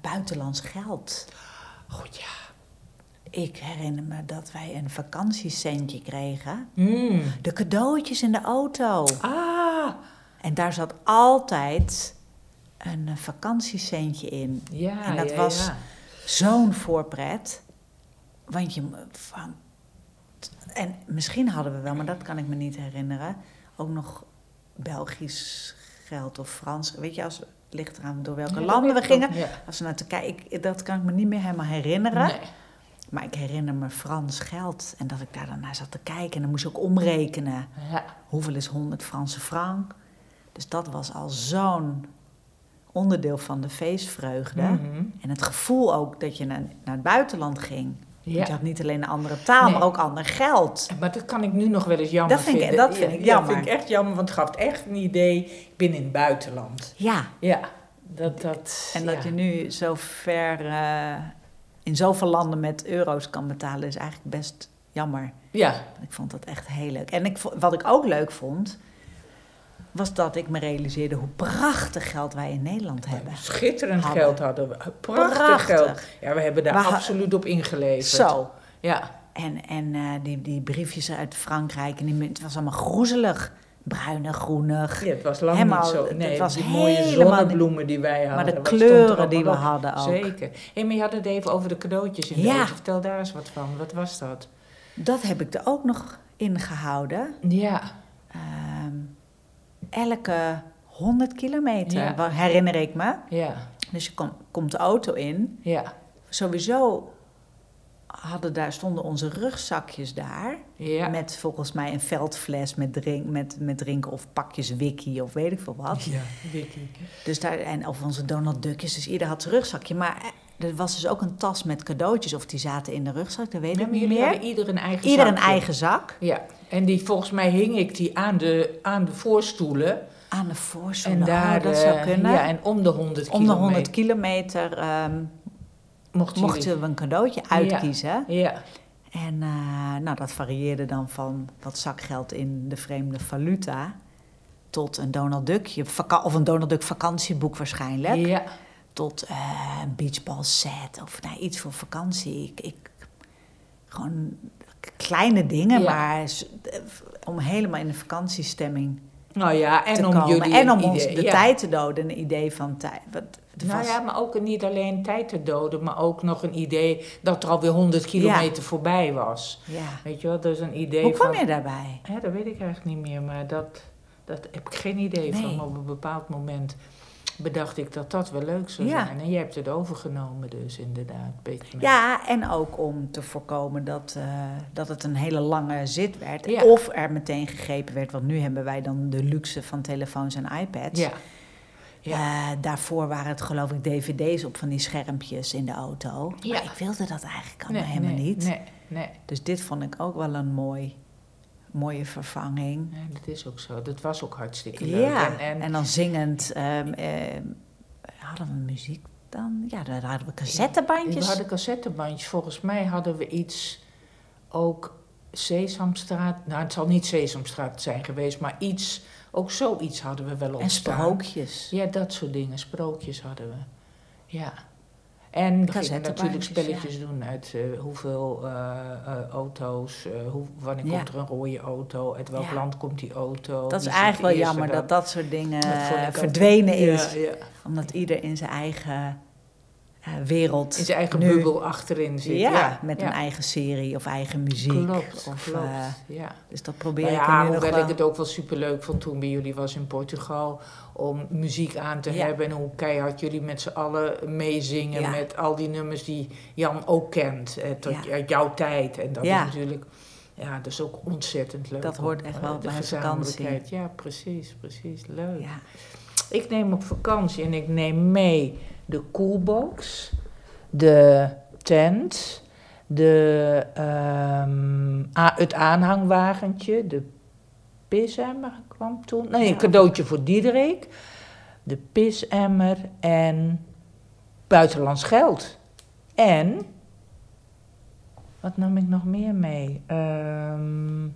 Speaker 1: buitenlands geld.
Speaker 2: goed ja.
Speaker 1: Ik herinner me dat wij een vakantiecentje kregen.
Speaker 2: Mm.
Speaker 1: De cadeautjes in de auto.
Speaker 2: Ah,
Speaker 1: En daar zat altijd een eh, vakantiecentje in.
Speaker 2: ja.
Speaker 1: En dat
Speaker 2: ja,
Speaker 1: was-
Speaker 2: ja.
Speaker 1: zo'n voorpret. Want je m- van. En misschien hadden we wel, maar dat kan ik me niet herinneren. Ook nog Belgisch geld of Frans. Weet je, als het ligt eraan door welke
Speaker 2: Ja,
Speaker 1: landen we
Speaker 2: dat weet
Speaker 1: gingen.
Speaker 2: ik nog, ja.
Speaker 1: Als we naar Turkije, ik, dat kan ik me niet meer helemaal herinneren.
Speaker 2: Nee.
Speaker 1: Maar ik herinner me Frans geld. En dat ik daar dan naar zat te kijken. En dan moest ik ook omrekenen.
Speaker 2: Ja,
Speaker 1: Hoeveel is 100 Franse frank? Dus dat was al zo'n onderdeel van de feestvreugde.
Speaker 2: mhm.
Speaker 1: En het gevoel ook dat je naar, naar het buitenland ging. Want Je
Speaker 2: ja.
Speaker 1: had niet alleen een andere taal,
Speaker 2: Nee.
Speaker 1: maar ook ander geld.
Speaker 2: Maar dat kan ik nu nog wel eens jammer
Speaker 1: Dat vind ik-
Speaker 2: vinden.
Speaker 1: dat vind
Speaker 2: Ja,
Speaker 1: ik
Speaker 2: Dat vind
Speaker 1: jammer.
Speaker 2: ik echt jammer, want het gaf echt een idee. Ik ben in het buitenland.
Speaker 1: Ja,
Speaker 2: Ja, dat dat...
Speaker 1: en dat
Speaker 2: ja.
Speaker 1: je nu zo ver eh, in zoveel landen met euro's kan betalen, is eigenlijk best jammer.
Speaker 2: Ja,
Speaker 1: Ik vond dat echt heel leuk. En ik, vo- wat ik ook leuk vond, was dat ik me realiseerde hoe prachtig geld wij in Nederland hebben.
Speaker 2: schitterend
Speaker 1: Hadden.
Speaker 2: geld hadden we. Prachtig, geld. Ja, we hebben daar
Speaker 1: We ha-
Speaker 2: absoluut op ingeleverd.
Speaker 1: Zo.
Speaker 2: Ja,
Speaker 1: En, en eh, die, die briefjes uit Frankrijk, en die, munt, het was allemaal groezelig. Bruinig, groenig.
Speaker 2: Ja, het was lang
Speaker 1: Helemaal,
Speaker 2: niet zo.
Speaker 1: het
Speaker 2: Nee,
Speaker 1: was
Speaker 2: die mooie
Speaker 1: helemaal niet-
Speaker 2: zonnebloemen die wij hadden.
Speaker 1: Maar de
Speaker 2: wat stond er
Speaker 1: kleuren die we
Speaker 2: allemaal op?
Speaker 1: hadden ook.
Speaker 2: Zeker. Hé, maar je had het even over de cadeautjes in de
Speaker 1: Ja.
Speaker 2: auto. Vertel daar eens wat van. Wat was dat?
Speaker 1: Dat heb ik er ook nog in gehouden.
Speaker 2: Ja.
Speaker 1: Ehm, elke 100 kilometer,
Speaker 2: Ja.
Speaker 1: wa- herinner ik me.
Speaker 2: Ja,
Speaker 1: Dus je kom- komt de auto in.
Speaker 2: ja,
Speaker 1: Sowieso hadden daar, stonden onze rugzakjes daar.
Speaker 2: ja.
Speaker 1: Met volgens mij een veldfles met, drink, met, met drinken of pakjes wiki of weet ik veel wat.
Speaker 2: Ja, Wiki.
Speaker 1: Dus daar, en, of onze Donald Duckjes, dus ieder had zijn rugzakje. Maar eh, er was dus ook een tas met cadeautjes. Of die zaten in de rugzak, dat weet ik
Speaker 2: Ja, maar
Speaker 1: niet
Speaker 2: jullie
Speaker 1: meer.
Speaker 2: hadden ieder een eigen
Speaker 1: Ieder een
Speaker 2: zakje.
Speaker 1: eigen zak.
Speaker 2: Ja, en die, volgens mij hing ik die aan de, aan de voorstoelen.
Speaker 1: Aan de voorzone,
Speaker 2: en daar,
Speaker 1: dat zou
Speaker 2: eh,
Speaker 1: kunnen.
Speaker 2: Ja, en om de 100
Speaker 1: Om de
Speaker 2: kilometer
Speaker 1: 100 kilometer ehm,
Speaker 2: mochten
Speaker 1: mochten we een cadeautje uitkiezen.
Speaker 2: jullie- Ja,
Speaker 1: En eh, nou, dat varieerde dan van wat zakgeld in de vreemde valuta... tot een Donald Duck, je vaka- of een Donald Duck vakantieboek waarschijnlijk...
Speaker 2: ja,
Speaker 1: tot eh, een beachball set of nou, iets voor vakantie. Ik, ik, gewoon k- kleine dingen,
Speaker 2: Ja.
Speaker 1: maar s- eh, om helemaal in de vakantiestemming
Speaker 2: nou ja, en
Speaker 1: te
Speaker 2: om
Speaker 1: komen.
Speaker 2: jullie
Speaker 1: en
Speaker 2: een
Speaker 1: om ons
Speaker 2: idee-
Speaker 1: de
Speaker 2: ja.
Speaker 1: tijd te doden, een idee van tijd. Wat, er
Speaker 2: Nou
Speaker 1: was-
Speaker 2: ja, maar ook niet alleen tijd te doden, maar ook nog een idee dat er alweer 100 kilometer voorbij was.
Speaker 1: ja.
Speaker 2: Weet je wel, dat is een idee
Speaker 1: Hoe
Speaker 2: van...
Speaker 1: kwam je daarbij?
Speaker 2: Ja, dat weet ik eigenlijk niet meer, maar dat, dat heb ik geen idee
Speaker 1: Nee.
Speaker 2: van. Maar op een bepaald moment bedacht ik dat dat wel leuk zou
Speaker 1: Ja.
Speaker 2: zijn. En jij hebt het overgenomen dus, inderdaad. beetje met-
Speaker 1: Ja, en ook om te voorkomen dat, eh, dat het een hele lange zit werd.
Speaker 2: Ja.
Speaker 1: Of er meteen gegrepen werd, want nu hebben wij dan de luxe van telefoons en iPads.
Speaker 2: Ja. Ja.
Speaker 1: Eh, daarvoor waren het geloof ik dvd's op van die schermpjes in de auto.
Speaker 2: Ja.
Speaker 1: Maar ik wilde dat eigenlijk allemaal helemaal
Speaker 2: nee,
Speaker 1: niet.
Speaker 2: Nee, nee,
Speaker 1: Dus dit vond ik ook wel een mooi, mooie vervanging.
Speaker 2: nee, dat is ook zo. Dat was ook hartstikke leuk.
Speaker 1: Ja,
Speaker 2: En, en,
Speaker 1: dan zingend. ehm, ehm, hadden we muziek dan? Ja, daar hadden we cassettebandjes.
Speaker 2: we hadden cassettebandjes. Volgens mij hadden we iets ook Sesamstraat. Nou, het zal niet Sesamstraat zijn geweest, maar iets, ook zoiets hadden we wel op
Speaker 1: en sprookjes.
Speaker 2: Ja, dat soort dingen. Sprookjes hadden we. Ja. En we gingen natuurlijk
Speaker 1: Cassettebandjes,
Speaker 2: spelletjes doen uit eh, hoeveel eh, eh, auto's, eh, hoe, wanneer
Speaker 1: Ja.
Speaker 2: komt er een rode auto, uit welk
Speaker 1: Ja.
Speaker 2: land komt die auto.
Speaker 1: Dat is
Speaker 2: wie zit
Speaker 1: eigenlijk
Speaker 2: eerst
Speaker 1: wel
Speaker 2: en
Speaker 1: jammer dat dat soort dingen
Speaker 2: Dat vond ik
Speaker 1: eh,
Speaker 2: ook-
Speaker 1: verdwenen
Speaker 2: Ja,
Speaker 1: is.
Speaker 2: ja.
Speaker 1: Omdat ieder in zijn eigen eh, wereld
Speaker 2: In zijn eigen
Speaker 1: nu-
Speaker 2: bubbel achterin zit.
Speaker 1: ja,
Speaker 2: Ja,
Speaker 1: met
Speaker 2: ja.
Speaker 1: een eigen serie of eigen muziek.
Speaker 2: Klopt,
Speaker 1: of,
Speaker 2: klopt.
Speaker 1: eh,
Speaker 2: ja.
Speaker 1: dus dat probeer
Speaker 2: Nou
Speaker 1: ik
Speaker 2: ja,
Speaker 1: er nu nog
Speaker 2: hoewel
Speaker 1: wel.
Speaker 2: ik het ook wel superleuk vond toen bij jullie was in Portugal. Om muziek aan te
Speaker 1: Ja.
Speaker 2: hebben en hoe keihard jullie met z'n allen meezingen.
Speaker 1: Ja.
Speaker 2: Met al die nummers die Jan ook kent. Eh, tot,
Speaker 1: Ja.
Speaker 2: Uit jouw tijd. En dat
Speaker 1: Ja.
Speaker 2: is natuurlijk. Ja, dat is ook ontzettend leuk.
Speaker 1: Dat hoort
Speaker 2: om,
Speaker 1: echt
Speaker 2: eh,
Speaker 1: wel
Speaker 2: de
Speaker 1: bij
Speaker 2: gezamenlijkheid. Ja, precies, precies. Leuk.
Speaker 1: Ja.
Speaker 2: Ik neem op vakantie en ik neem mee de koelbox, de tent, de, ehm, a- het aanhangwagentje, de pisemmer kwam toen. Nee, een
Speaker 1: Ja.
Speaker 2: cadeautje voor Diederik, de pisemmer en buitenlands geld. En, wat nam ik nog meer mee? Ehm,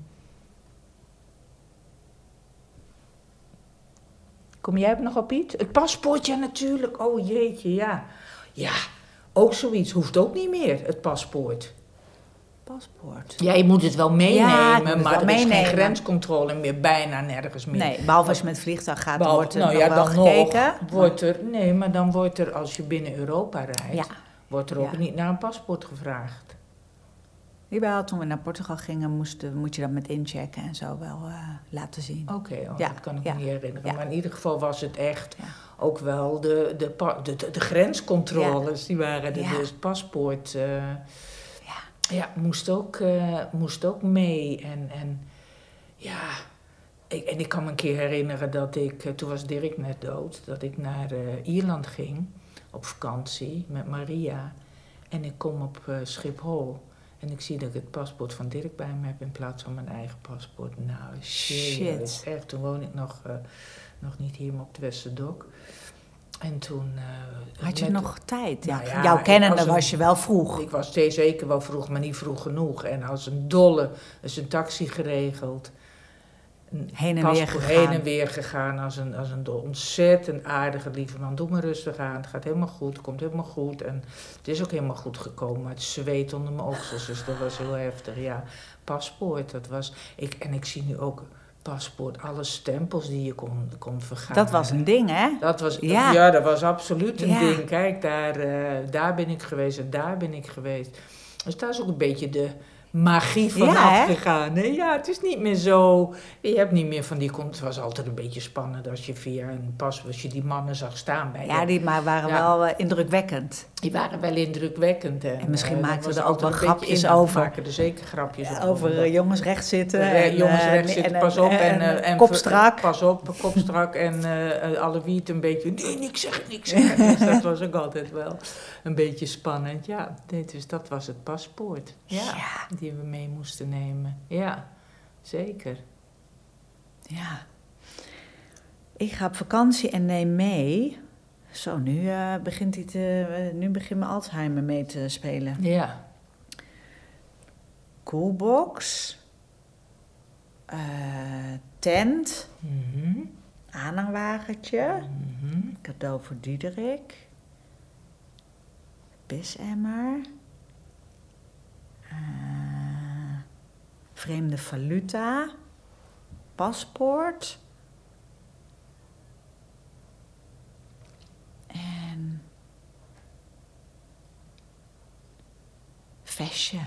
Speaker 2: Kom jij nog op iets? Het paspoortje natuurlijk. Oh jeetje, ja. Ja, ook zoiets. Hoeft ook niet meer, het paspoort.
Speaker 1: Paspoort.
Speaker 2: Ja, je moet het wel meenemen,
Speaker 1: Ja, ik moet het
Speaker 2: maar
Speaker 1: wel
Speaker 2: er is geen
Speaker 1: meenemen.
Speaker 2: grenscontrole meer, bijna nergens meer.
Speaker 1: Nee, behalve als je met het vliegtuig gaat,
Speaker 2: Behalve-
Speaker 1: wordt er
Speaker 2: nou
Speaker 1: nog
Speaker 2: ja,
Speaker 1: wel
Speaker 2: dan
Speaker 1: gekeken.
Speaker 2: nog wordt er, nee, maar dan wordt er, als je binnen Europa rijdt,
Speaker 1: Ja.
Speaker 2: wordt er ook
Speaker 1: Ja.
Speaker 2: niet naar een paspoort gevraagd.
Speaker 1: Jawel, toen we naar Portugal gingen, moesten, moet je dat met inchecken en zo wel eh, laten zien.
Speaker 2: Oké, oh,
Speaker 1: Ja,
Speaker 2: dat kan ik
Speaker 1: ja,
Speaker 2: me niet herinneren.
Speaker 1: ja.
Speaker 2: Maar in ieder geval was het echt
Speaker 1: Ja.
Speaker 2: ook wel de, de, pa- de, de, de grenscontroles, die waren er
Speaker 1: Ja.
Speaker 2: dus. Paspoort eh, ja, moest, ook, eh, moest ook mee. En, en ja, ik, en ik kan me een keer herinneren dat ik, eh, toen was Dirk net dood, dat ik naar eh, Ierland ging op vakantie met Maria. En ik kom op eh, Schiphol. En ik zie dat ik het paspoort van Dirk bij me heb in plaats van mijn eigen paspoort. Nou, shit.
Speaker 1: Shit.
Speaker 2: Dat is echt. Toen woon ik nog, eh, nog niet hier, maar op het Westerdok. En toen... eh,
Speaker 1: Had je
Speaker 2: met-
Speaker 1: nog tijd? Ja,
Speaker 2: Nou ja,
Speaker 1: jouw
Speaker 2: ik
Speaker 1: kennende
Speaker 2: was
Speaker 1: was,
Speaker 2: een-
Speaker 1: je wel vroeg.
Speaker 2: Ik was steeds zeker wel vroeg, maar niet vroeg genoeg. En als een dolle is een taxi geregeld. Een
Speaker 1: Heen en
Speaker 2: paspoort
Speaker 1: weer
Speaker 2: heen
Speaker 1: gegaan.
Speaker 2: en weer gegaan als een, als een dolle. Ontzettend aardige, lieve man. Doe maar rustig aan. Het gaat helemaal goed. Het komt helemaal goed. En het is ook helemaal goed gekomen. Maar het zweet onder mijn oksels. Dus dat was heel heftig. Ja, paspoort. Dat was... Ik, en ik zie nu ook paspoort. Alle stempels die je kon, kon vergaan.
Speaker 1: Dat was een ding, hè?
Speaker 2: Dat was,
Speaker 1: Ja.
Speaker 2: ja. dat was absoluut een
Speaker 1: Ja.
Speaker 2: ding. Kijk, daar, eh, daar ben ik geweest en daar ben ik geweest. Dus daar is ook een beetje de magie van
Speaker 1: Ja, hè?
Speaker 2: afgegaan. hè? Ja, het is niet meer zo. Je hebt niet meer van die kont. Het was altijd een beetje spannend als je via een pas was je die mannen zag staan bij.
Speaker 1: Ja,
Speaker 2: je.
Speaker 1: die maar waren
Speaker 2: Ja.
Speaker 1: wel eh, indrukwekkend.
Speaker 2: Die waren wel indrukwekkend. En,
Speaker 1: En misschien
Speaker 2: eh,
Speaker 1: maakten
Speaker 2: was
Speaker 1: we er ook
Speaker 2: altijd
Speaker 1: wel
Speaker 2: een beetje
Speaker 1: grapjes
Speaker 2: in. We
Speaker 1: over.
Speaker 2: maken er zeker grapjes
Speaker 1: Ja,
Speaker 2: over.
Speaker 1: over eh, jongens rechts zitten.
Speaker 2: Eh,
Speaker 1: en,
Speaker 2: jongens
Speaker 1: eh,
Speaker 2: rechts
Speaker 1: en-
Speaker 2: zitten,
Speaker 1: en-
Speaker 2: pas op. En,
Speaker 1: en-
Speaker 2: eh, en
Speaker 1: kop
Speaker 2: ver-
Speaker 1: strak.
Speaker 2: Pas op, kopstrak. En eh, eh, alle wiet een beetje, nee, niks zeggen, niks zeggen. Dus dat was ook altijd wel een beetje spannend. Ja, nee, dus dat was het paspoort. Ja,
Speaker 1: Ja.
Speaker 2: Die we mee moesten nemen. Ja, zeker.
Speaker 1: Ja. Ik ga op vakantie en neem mee. Zo, nu eh, begint hij te, eh, nu begint mijn Alzheimer mee te spelen.
Speaker 2: Ja,
Speaker 1: Coolbox. eh, tent.
Speaker 2: Mhm.
Speaker 1: Aanhangwagentje.
Speaker 2: Mhm.
Speaker 1: Cadeau voor Diederik. Pisemmer. Eh, vreemde valuta. Paspoort. En. Vestje.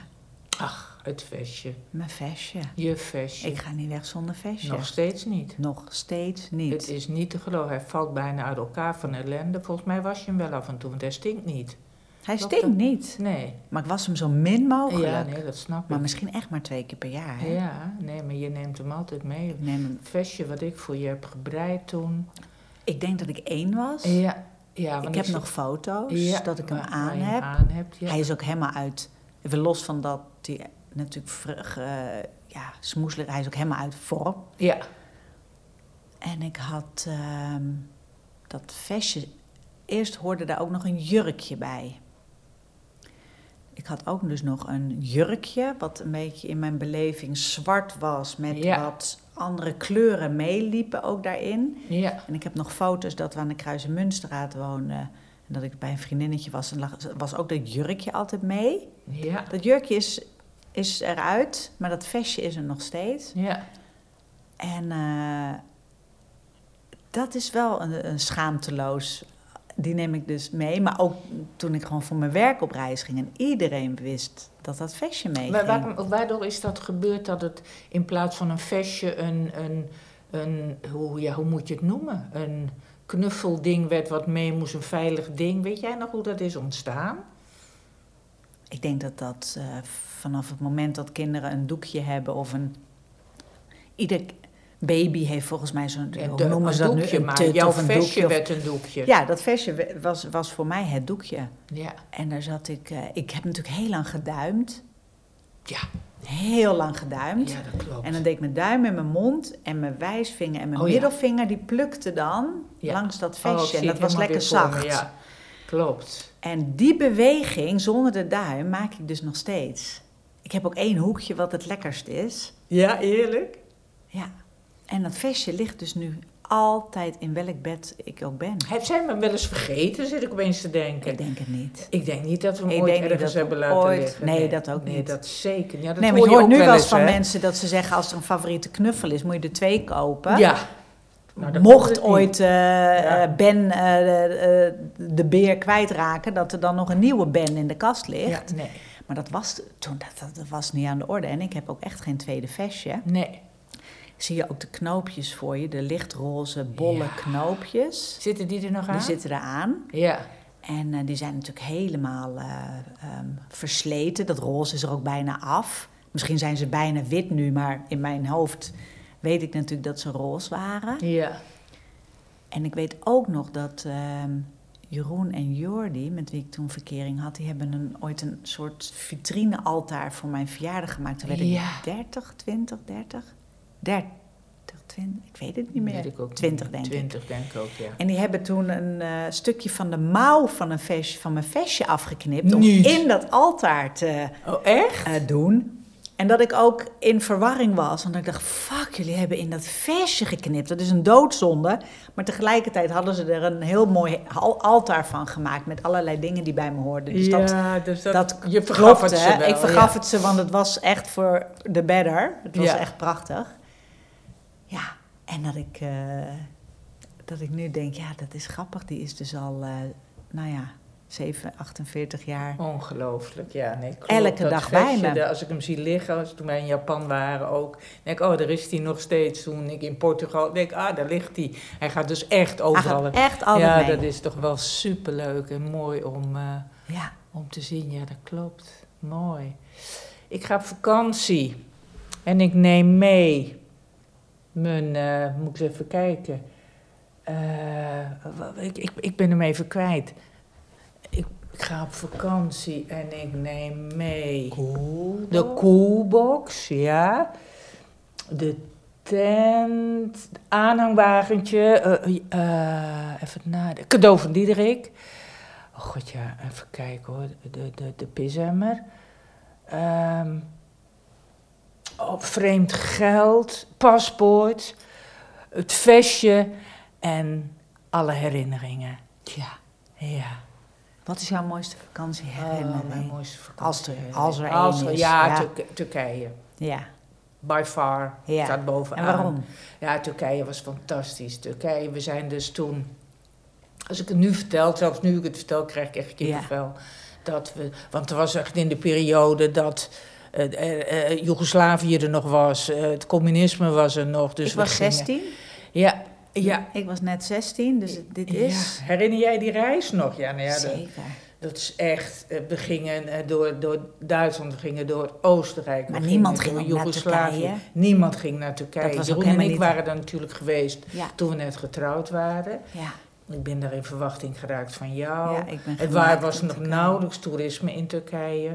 Speaker 2: ach, het vestje.
Speaker 1: Mijn vestje.
Speaker 2: Je vestje.
Speaker 1: Ik ga niet weg zonder vestje.
Speaker 2: Nog steeds niet.
Speaker 1: Nog steeds niet.
Speaker 2: Het is niet te geloven. Hij valt bijna uit elkaar van ellende. Volgens mij was je hem wel af en toe, want hij stinkt niet.
Speaker 1: Hij
Speaker 2: Klopt
Speaker 1: stinkt
Speaker 2: dat?
Speaker 1: niet.
Speaker 2: Nee.
Speaker 1: Maar ik was hem zo min mogelijk.
Speaker 2: Ja, nee, dat snap ik.
Speaker 1: Maar misschien echt maar twee keer per jaar. Hè?
Speaker 2: Ja, nee, maar je neemt hem altijd mee.
Speaker 1: Ik, neem hem-
Speaker 2: Het vestje wat ik voor je heb gebreid toen.
Speaker 1: ik denk dat ik één was.
Speaker 2: Ja, ja want
Speaker 1: ik heb
Speaker 2: zie-
Speaker 1: nog foto's
Speaker 2: Ja,
Speaker 1: dat ik hem
Speaker 2: waar- waar
Speaker 1: aan
Speaker 2: je
Speaker 1: heb.
Speaker 2: aan hebt, ja.
Speaker 1: Hij is ook helemaal uit. Even los van dat die natuurlijk vrug, eh, ja, smoeselijk. Hij is ook helemaal uit vorm.
Speaker 2: ja.
Speaker 1: En ik had ehm, dat vestje. Eerst hoorde daar ook nog een jurkje bij. Ik had ook dus nog een jurkje, wat een beetje in mijn beleving zwart was, met
Speaker 2: Ja.
Speaker 1: wat andere kleuren meeliepen ook daarin.
Speaker 2: ja.
Speaker 1: En ik heb nog foto's dat we aan de Kruisenmunstraat woonden. En dat ik bij een vriendinnetje was. En lag, was ook dat jurkje altijd mee.
Speaker 2: Ja,
Speaker 1: Dat jurkje is, is eruit, maar dat vestje is er nog steeds.
Speaker 2: ja.
Speaker 1: En eh, dat is wel een, een schaamteloos. Die neem ik dus mee. Maar ook toen ik gewoon voor mijn werk op reis ging. En iedereen wist dat dat vestje mee
Speaker 2: Maar
Speaker 1: ging.
Speaker 2: waarom, waardoor is dat gebeurd dat het in plaats van een vestje een, een, een hoe, ja, hoe moet je het noemen? Een knuffelding werd wat mee moest, een veilig ding. Weet jij nog hoe dat is ontstaan?
Speaker 1: Ik denk dat dat eh, vanaf het moment dat kinderen een doekje hebben of een. Ieder baby heeft volgens mij zo'n.
Speaker 2: En
Speaker 1: Hoe
Speaker 2: de-
Speaker 1: noemen ze dat nu?
Speaker 2: doekje,
Speaker 1: Een
Speaker 2: maar
Speaker 1: tut
Speaker 2: jouw
Speaker 1: of een
Speaker 2: vestje
Speaker 1: doekje. of-
Speaker 2: werd een doekje.
Speaker 1: Ja, dat vestje we- was, was voor mij het doekje.
Speaker 2: ja.
Speaker 1: En daar zat ik. eh, ik heb natuurlijk heel lang geduimd.
Speaker 2: Ja.
Speaker 1: Heel lang geduimd.
Speaker 2: Ja, dat klopt.
Speaker 1: En dan deed ik mijn duim en mijn mond en mijn wijsvinger en mijn
Speaker 2: Oh ja.
Speaker 1: middelvinger, die plukte dan
Speaker 2: Ja.
Speaker 1: langs dat
Speaker 2: Oh, ik
Speaker 1: vestje.
Speaker 2: zie
Speaker 1: en dat
Speaker 2: het
Speaker 1: was
Speaker 2: helemaal
Speaker 1: lekker
Speaker 2: weer voor me,
Speaker 1: zacht.
Speaker 2: Ja, klopt.
Speaker 1: En die beweging zonder de duim maak ik dus nog steeds. Ik heb ook één hoekje wat het lekkerst is.
Speaker 2: Ja, eerlijk?
Speaker 1: Ja. En dat vestje ligt dus nu altijd in welk bed ik ook ben.
Speaker 2: Heeft zij me wel eens vergeten, zit ik opeens te denken.
Speaker 1: Ik denk het niet.
Speaker 2: Ik denk niet dat we hem
Speaker 1: Ik
Speaker 2: ooit
Speaker 1: denk niet dat
Speaker 2: ergens
Speaker 1: we
Speaker 2: hebben laten
Speaker 1: ooit-
Speaker 2: liggen.
Speaker 1: nee, dat ook
Speaker 2: nee,
Speaker 1: niet.
Speaker 2: dat zeker. Ja, dat
Speaker 1: nee,
Speaker 2: hoor
Speaker 1: want je hoort
Speaker 2: ook
Speaker 1: nu wel
Speaker 2: wel
Speaker 1: eens van
Speaker 2: hè?
Speaker 1: mensen dat ze zeggen als er een favoriete knuffel is, moet je er twee kopen.
Speaker 2: Ja. Nou, dat klopt
Speaker 1: Mocht
Speaker 2: niet.
Speaker 1: ooit eh,
Speaker 2: Ja.
Speaker 1: eh, Ben eh, eh, de beer kwijtraken, dat er dan nog een nieuwe Ben in de kast ligt.
Speaker 2: Ja, nee.
Speaker 1: Maar dat was toen dat, dat, dat was niet aan de orde. En ik heb ook echt geen tweede vestje.
Speaker 2: nee.
Speaker 1: Zie je ook de knoopjes voor je, de lichtroze bolle
Speaker 2: Ja.
Speaker 1: knoopjes.
Speaker 2: Zitten die er nog aan?
Speaker 1: Die zitten eraan.
Speaker 2: Ja.
Speaker 1: En eh, die zijn natuurlijk helemaal eh, ehm, versleten. Dat roze is er ook bijna af. Misschien zijn ze bijna wit nu, maar in mijn hoofd weet ik natuurlijk dat ze roze waren.
Speaker 2: Ja.
Speaker 1: En ik weet ook nog dat ehm, Jeroen en Jordi, met wie ik toen verkering had, die hebben een, ooit een soort vitrinealtaar voor mijn verjaardag gemaakt. Toen werd
Speaker 2: Ja.
Speaker 1: ik 30, 20, 30, 30, 20, ik weet het niet
Speaker 2: Weet
Speaker 1: meer.
Speaker 2: ik ook
Speaker 1: 20
Speaker 2: niet.
Speaker 1: denk ik.
Speaker 2: 20 denk ik ook, ja.
Speaker 1: En die hebben toen een eh, stukje van de mouw van, een vestje, van mijn vestje afgeknipt om
Speaker 2: Niet.
Speaker 1: in dat altaar te
Speaker 2: Oh, echt?
Speaker 1: eh, doen. En dat ik ook in verwarring was. Want ik dacht, fuck, jullie hebben in dat versje geknipt. Dat is een doodzonde. Maar tegelijkertijd hadden ze er een heel mooi al- altaar van gemaakt. Met allerlei dingen die bij me hoorden. Dus dat,
Speaker 2: ja, dus dat,
Speaker 1: dat
Speaker 2: je vergaf
Speaker 1: klopte,
Speaker 2: het ze
Speaker 1: hè.
Speaker 2: wel,
Speaker 1: Ik vergaf
Speaker 2: ja.
Speaker 1: het ze, want het was echt voor de better. Het was
Speaker 2: Ja.
Speaker 1: echt prachtig. Ja, en dat ik, eh, dat ik nu denk, ja, dat is grappig. Die is dus al, eh, nou ja, 7, 48 jaar.
Speaker 2: Ongelooflijk, ja. Nee, klopt.
Speaker 1: Elke
Speaker 2: dat
Speaker 1: dag
Speaker 2: vestje,
Speaker 1: bij me.
Speaker 2: daar- Als ik hem zie liggen, als toen wij in Japan waren ook. denk ik, oh, daar is hij nog steeds. Toen ik in Portugal, denk ik, ah, daar ligt hij. Hij gaat dus echt
Speaker 1: Hij
Speaker 2: overal.
Speaker 1: gaat echt altijd
Speaker 2: ja,
Speaker 1: mee.
Speaker 2: dat is toch wel superleuk en mooi om, eh,
Speaker 1: Ja.
Speaker 2: om te zien. Ja, dat klopt. Mooi. Ik ga op vakantie en ik neem mee mijn, eh, moet ik eens even kijken. Eh, wa- ik, ik, ik ben hem even kwijt. Ik, ik ga op vakantie en ik neem mee de koelbox, ja. De tent, aanhangwagentje, eh, eh, even na, de cadeau van Diederik. Oh god ja, even kijken hoor, de, de, de pisemmer. Ehm, oh, vreemd geld, paspoort, het vestje en alle herinneringen.
Speaker 1: Tja,
Speaker 2: Ja.
Speaker 1: wat is jouw mooiste vakantieherinnering?
Speaker 2: Oh, mijn mooiste vakantie.
Speaker 1: Als er- als er één is,
Speaker 2: Ja,
Speaker 1: ja.
Speaker 2: Turk- Turkije.
Speaker 1: ja.
Speaker 2: By far.
Speaker 1: Ja.
Speaker 2: Staat bovenaan.
Speaker 1: En waarom?
Speaker 2: Ja, Turkije was fantastisch. Turkije, we zijn dus toen... Als ik het nu vertel, zelfs nu ik het vertel, krijg ik echt kippenvel. Dat we, want er was echt in de periode dat eh, eh, eh, Joegoslavië er nog was. eh, het communisme was er nog. Dus
Speaker 1: ik
Speaker 2: we
Speaker 1: was
Speaker 2: gingen-
Speaker 1: 16.
Speaker 2: Ja, ja.
Speaker 1: Ik was net 16, dus het- dit is...
Speaker 2: Ja. Herinner jij die reis nog? Ja, nou ja, dat-
Speaker 1: Zeker.
Speaker 2: dat is echt, eh, we gingen eh, door, door Duitsland, we gingen door Oostenrijk. we
Speaker 1: Maar
Speaker 2: gingen
Speaker 1: niemand
Speaker 2: door
Speaker 1: ging ook naar
Speaker 2: Joegoslavië.
Speaker 1: Turkije.
Speaker 2: Niemand ging naar Turkije.
Speaker 1: Dat was ook
Speaker 2: Jeroen en ik
Speaker 1: helemaal niet-
Speaker 2: waren daar natuurlijk geweest
Speaker 1: Ja,
Speaker 2: toen we net getrouwd waren.
Speaker 1: ja.
Speaker 2: Ik ben daar in verwachting geraakt van jou.
Speaker 1: ja ik ben
Speaker 2: Het Oh. waar
Speaker 1: gemaakt
Speaker 2: was
Speaker 1: om
Speaker 2: nog
Speaker 1: te kijken.
Speaker 2: nauwelijks toerisme in Turkije.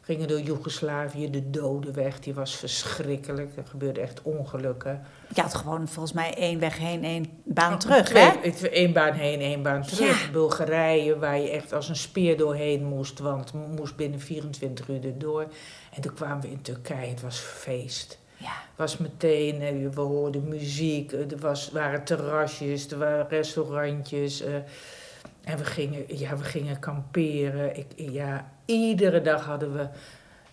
Speaker 2: We gingen door Joegoslavië, de dodenweg, die was verschrikkelijk. Er gebeurden echt ongelukken.
Speaker 1: Je had gewoon volgens mij één weg heen, één baan
Speaker 2: Nou,
Speaker 1: terug,
Speaker 2: twee-
Speaker 1: hè?
Speaker 2: het- één baan heen, één baan terug.
Speaker 1: Ja.
Speaker 2: Bulgarije, waar je echt als een speer doorheen moest, want we moest binnen 24 uur erdoor. En toen kwamen we in Turkije, het was feest.
Speaker 1: Ja.
Speaker 2: Het was meteen, eh, we hoorden muziek, eh, er was, waren terrasjes, er waren restaurantjes. eh, en we gingen, ja, we gingen kamperen. Ik, ja, iedere dag hadden we,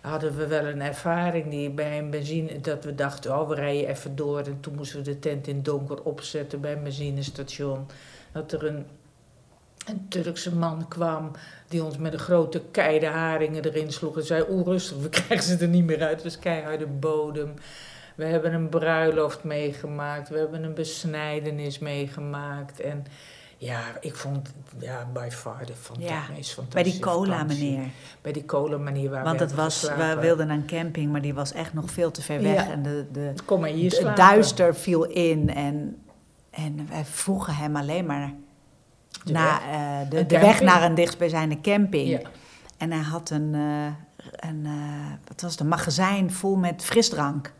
Speaker 2: hadden we wel een ervaring die bij een benzine... dat we dachten, oh, we rijden even door. En toen moesten we de tent in het donker opzetten bij een benzinestation. Dat er een, een Turkse man kwam die ons met een grote kei de haringen erin sloeg... en zei, oeh, rustig, we krijgen ze er niet meer uit. Het was keiharde bodem. We hebben een bruiloft meegemaakt. We hebben een besnijdenis meegemaakt. En ja, ik vond ja, by far de fanta-
Speaker 1: Ja,
Speaker 2: meest fantastische
Speaker 1: Bij die cola,
Speaker 2: vakantie.
Speaker 1: meneer.
Speaker 2: Bij die cola-manier waar
Speaker 1: Want
Speaker 2: we
Speaker 1: het was, we
Speaker 2: wilden.
Speaker 1: wilden naar een camping, maar die was echt nog veel te ver weg.
Speaker 2: Ja.
Speaker 1: En de, de,
Speaker 2: Kom maar hier slapen.
Speaker 1: het duister viel in. En, en wij vroegen hem alleen maar
Speaker 2: De
Speaker 1: naar, eh, de,
Speaker 2: Een
Speaker 1: de weg
Speaker 2: camping.
Speaker 1: naar een dichtstbijzijnde camping.
Speaker 2: Ja.
Speaker 1: En hij had een, eh, een eh, wat was het, een magazijn vol met frisdrank.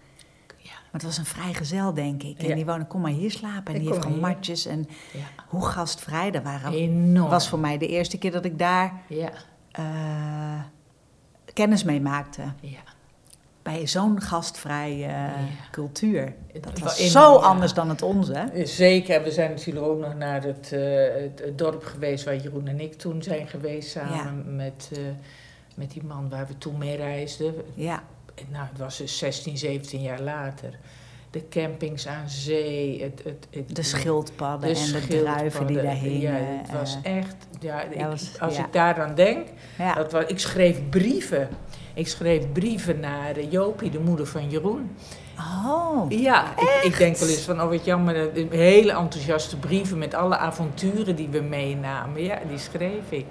Speaker 2: Ja.
Speaker 1: Maar het was een vrijgezel, denk ik. En
Speaker 2: Ja.
Speaker 1: die woonde, kom maar hier slapen. En die
Speaker 2: Ik
Speaker 1: heeft
Speaker 2: kom
Speaker 1: gewoon
Speaker 2: maar hier.
Speaker 1: matjes. En
Speaker 2: Ja.
Speaker 1: hoe gastvrij daar waren.
Speaker 2: Enorm.
Speaker 1: Nou, was voor mij de eerste keer dat ik daar
Speaker 2: Ja,
Speaker 1: eh, kennis mee maakte.
Speaker 2: ja.
Speaker 1: Bij zo'n gastvrij eh,
Speaker 2: Ja.
Speaker 1: cultuur. Dat
Speaker 2: Het
Speaker 1: was
Speaker 2: in-
Speaker 1: zo
Speaker 2: ja.
Speaker 1: anders dan het onze.
Speaker 2: Zeker, en we zijn natuurlijk ook nog naar het, eh, het, het dorp geweest waar Jeroen en ik toen zijn geweest samen met, eh, met die man waar we toen mee reisden.
Speaker 1: Ja,
Speaker 2: En nou, het was dus 16, 17 jaar later. De campings aan zee, het, het, het,
Speaker 1: de schildpadden en de
Speaker 2: schildpadden.
Speaker 1: druiven die daar
Speaker 2: Ja,
Speaker 1: hingen.
Speaker 2: het was
Speaker 1: eh,
Speaker 2: echt, ja, ik-
Speaker 1: was-
Speaker 2: als
Speaker 1: ja.
Speaker 2: ik daaraan denk,
Speaker 1: ja.
Speaker 2: Dat was, ik schreef brieven. Ik schreef brieven naar eh, Jopie, de moeder van Jeroen.
Speaker 1: Oh,
Speaker 2: Ja, ik, ik denk wel eens van, oh wat jammer, eh, hele enthousiaste brieven met alle avonturen die we meenamen. Ja, die schreef ik.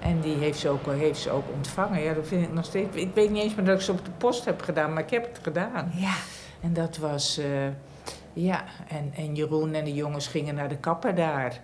Speaker 2: En die heeft ze ook, eh, heeft ze ook ontvangen. Ja, dat vind ik nog steeds. Ik weet niet eens meer dat ik ze op de post heb gedaan, maar ik heb het gedaan.
Speaker 1: ja.
Speaker 2: En dat was, eh, ja, en, en Jeroen en de jongens gingen naar de kapper daar.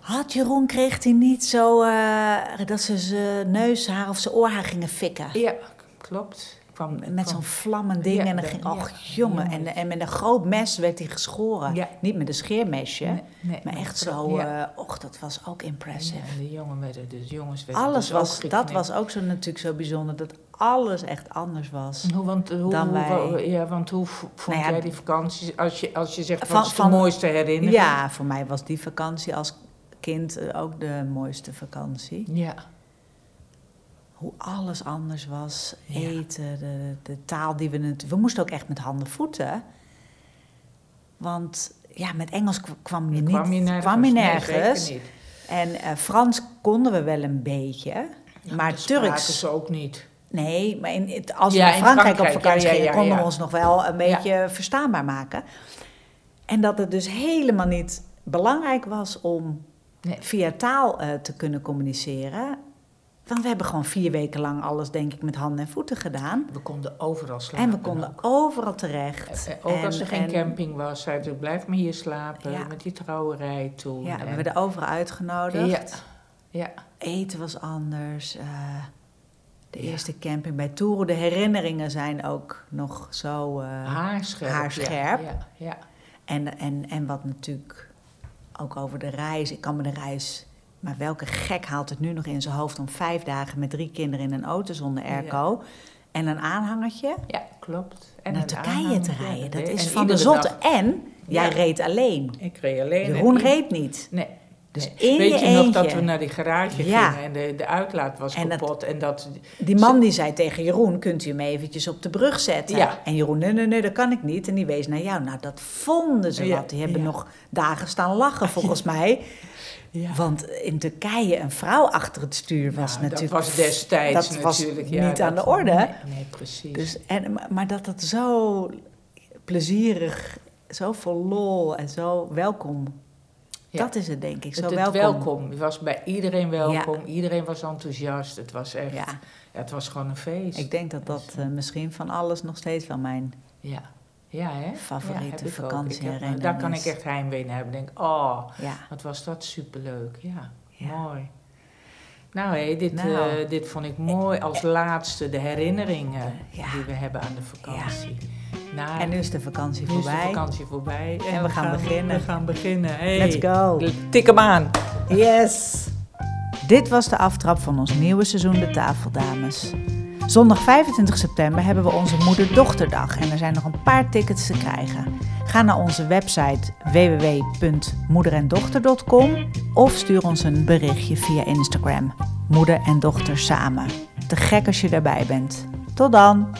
Speaker 1: Had Jeroen, kreeg hij niet zo eh, dat ze zijn neushaar of zijn oorhaar gingen fikken?
Speaker 2: Ja, klopt. Kwam, kwam-
Speaker 1: Met zo'n vlammend ding
Speaker 2: Ja,
Speaker 1: en dan
Speaker 2: dat-
Speaker 1: ging,
Speaker 2: ja.
Speaker 1: och jongen, en, en met een groot mes werd hij geschoren.
Speaker 2: Ja.
Speaker 1: Niet met een scheermesje,
Speaker 2: Nee, nee,
Speaker 1: maar echt
Speaker 2: klopt.
Speaker 1: zo,
Speaker 2: Ja.
Speaker 1: eh, och, dat was ook impressive.
Speaker 2: En de jongen werden dus jongens werden
Speaker 1: Alles
Speaker 2: dus ook
Speaker 1: was, dat
Speaker 2: geknipt.
Speaker 1: was ook zo natuurlijk zo bijzonder, dat alles echt anders was.
Speaker 2: Hoe, want, hoe,
Speaker 1: Dan
Speaker 2: hoe-
Speaker 1: wij.
Speaker 2: wa- ja, want hoe v- vond
Speaker 1: Nou ja,
Speaker 2: jij die vakantie? Als je, als je zegt,
Speaker 1: Van-
Speaker 2: wat is de
Speaker 1: van-
Speaker 2: mooiste herinnering?
Speaker 1: Ja, voor mij was die vakantie als kind eh, ook de mooiste vakantie.
Speaker 2: Ja.
Speaker 1: Hoe alles anders was.
Speaker 2: Ja.
Speaker 1: Eten, de, de taal die we... natu- We moesten ook echt met handen voeten. Want ja, met Engels kw- kwam je niet...
Speaker 2: kwam je nergens.
Speaker 1: kwam je
Speaker 2: Nee,
Speaker 1: nergens.
Speaker 2: zeker niet.
Speaker 1: En eh, Frans konden we wel een beetje. maar
Speaker 2: Dat spraken
Speaker 1: Turks.
Speaker 2: ze ook niet.
Speaker 1: Nee, maar in, het- als we
Speaker 2: Ja,
Speaker 1: naar
Speaker 2: in
Speaker 1: Frankrijk,
Speaker 2: Frankrijk,
Speaker 1: op vakantie
Speaker 2: ja, ja,
Speaker 1: gingen,
Speaker 2: ja,
Speaker 1: konden we
Speaker 2: ja.
Speaker 1: ons nog wel een beetje verstaanbaar maken. En dat het dus helemaal niet belangrijk was om
Speaker 2: Nee.
Speaker 1: via taal eh, te kunnen communiceren. Want we hebben gewoon vier weken lang alles, denk ik, met handen en voeten gedaan.
Speaker 2: We konden overal slapen.
Speaker 1: En we konden overal terecht.
Speaker 2: Eh, eh, Ook als
Speaker 1: En-
Speaker 2: er geen
Speaker 1: en-
Speaker 2: camping was, zei ik, blijf maar hier slapen.
Speaker 1: Ja.
Speaker 2: Met die trouwerij toen.
Speaker 1: Ja,
Speaker 2: En-
Speaker 1: we werden overal uitgenodigd.
Speaker 2: Ja. ja.
Speaker 1: Eten was anders. eh, de eerste camping bij Toeren. De herinneringen zijn ook nog zo...
Speaker 2: Ah,
Speaker 1: eh,
Speaker 2: Haarscherp. ja,
Speaker 1: haarscherp.
Speaker 2: Ja, ja.
Speaker 1: En, en, en wat natuurlijk ook over de reis. Ik kan me de reis. Maar welke gek haalt het nu nog in zijn hoofd om vijf dagen met drie kinderen in een auto zonder airco en een aanhangertje
Speaker 2: Ja, klopt. En
Speaker 1: naar
Speaker 2: een
Speaker 1: Turkije
Speaker 2: aanhang,
Speaker 1: te
Speaker 2: ja,
Speaker 1: rijden? Dat
Speaker 2: deed-
Speaker 1: is
Speaker 2: en
Speaker 1: van de
Speaker 2: iedere
Speaker 1: zotte.
Speaker 2: dag-
Speaker 1: En jij
Speaker 2: Ja.
Speaker 1: reed alleen.
Speaker 2: Ik reed alleen. en
Speaker 1: Jeroen
Speaker 2: i-
Speaker 1: reed niet.
Speaker 2: Nee.
Speaker 1: Dus
Speaker 2: nee.
Speaker 1: in
Speaker 2: Weet
Speaker 1: je
Speaker 2: je, nog dat
Speaker 1: eentje.
Speaker 2: we naar die garage
Speaker 1: Ja.
Speaker 2: gingen en de, de uitlaat was
Speaker 1: En dat-
Speaker 2: kapot en dat...
Speaker 1: Die man die zei tegen Jeroen: Kunt u hem eventjes op de brug zetten?
Speaker 2: Ja.
Speaker 1: En Jeroen: Nee, nee, nee, dat kan ik niet. En die wees naar jou. Nou, dat vonden ze
Speaker 2: Ja,
Speaker 1: wat. Die hebben
Speaker 2: ja.
Speaker 1: nog dagen staan lachen, volgens mij.
Speaker 2: Ja.
Speaker 1: Want in Turkije een vrouw achter het stuur was
Speaker 2: Nou,
Speaker 1: natuurlijk.
Speaker 2: Dat was destijds
Speaker 1: dat was
Speaker 2: natuurlijk.
Speaker 1: niet aan
Speaker 2: dat-
Speaker 1: de orde.
Speaker 2: Nee, nee, precies.
Speaker 1: Dus, en, maar- maar dat het zo plezierig, zo vol lol en zo welkom.
Speaker 2: Ja.
Speaker 1: Dat is het, denk ik. Zo
Speaker 2: het, het
Speaker 1: welkom.
Speaker 2: welkom. Je was bij iedereen welkom. Iedereen was enthousiast. Het was echt...
Speaker 1: Ja,
Speaker 2: Ja. het was gewoon een feest.
Speaker 1: ik denk dat dat eh, misschien van alles nog steeds wel mijn.
Speaker 2: Ja. Ja, hè?
Speaker 1: Favoriete
Speaker 2: ja, heb ik ook. Ik heb-
Speaker 1: vakantieherinnering
Speaker 2: Daar kan ik
Speaker 1: is-
Speaker 2: echt heimwee naar hebben. Denk, oh,
Speaker 1: Ja,
Speaker 2: Wat was dat superleuk, ja.
Speaker 1: Ja.
Speaker 2: Mooi. Nou hé, dit,
Speaker 1: Nou. eh,
Speaker 2: eh, dit vond ik mooi als laatste de herinneringen
Speaker 1: Ja.
Speaker 2: die we hebben aan de vakantie. Nou,
Speaker 1: en nu is de vakantie
Speaker 2: nu is de
Speaker 1: voorbij.
Speaker 2: vakantie voorbij. En,
Speaker 1: we gaan beginnen.
Speaker 2: We gaan beginnen. Hey.
Speaker 1: Let's go.
Speaker 2: Tik hem aan.
Speaker 1: Yes! Dit was de aftrap van ons nieuwe seizoen De Tafeldames. Zondag 25 september hebben we onze moeder-dochterdag en er zijn nog een paar tickets te krijgen. Ga naar onze website www.moederendochter.com of stuur ons een berichtje via Instagram. Moeder en dochter samen. Te gek als je daarbij bent. Tot dan!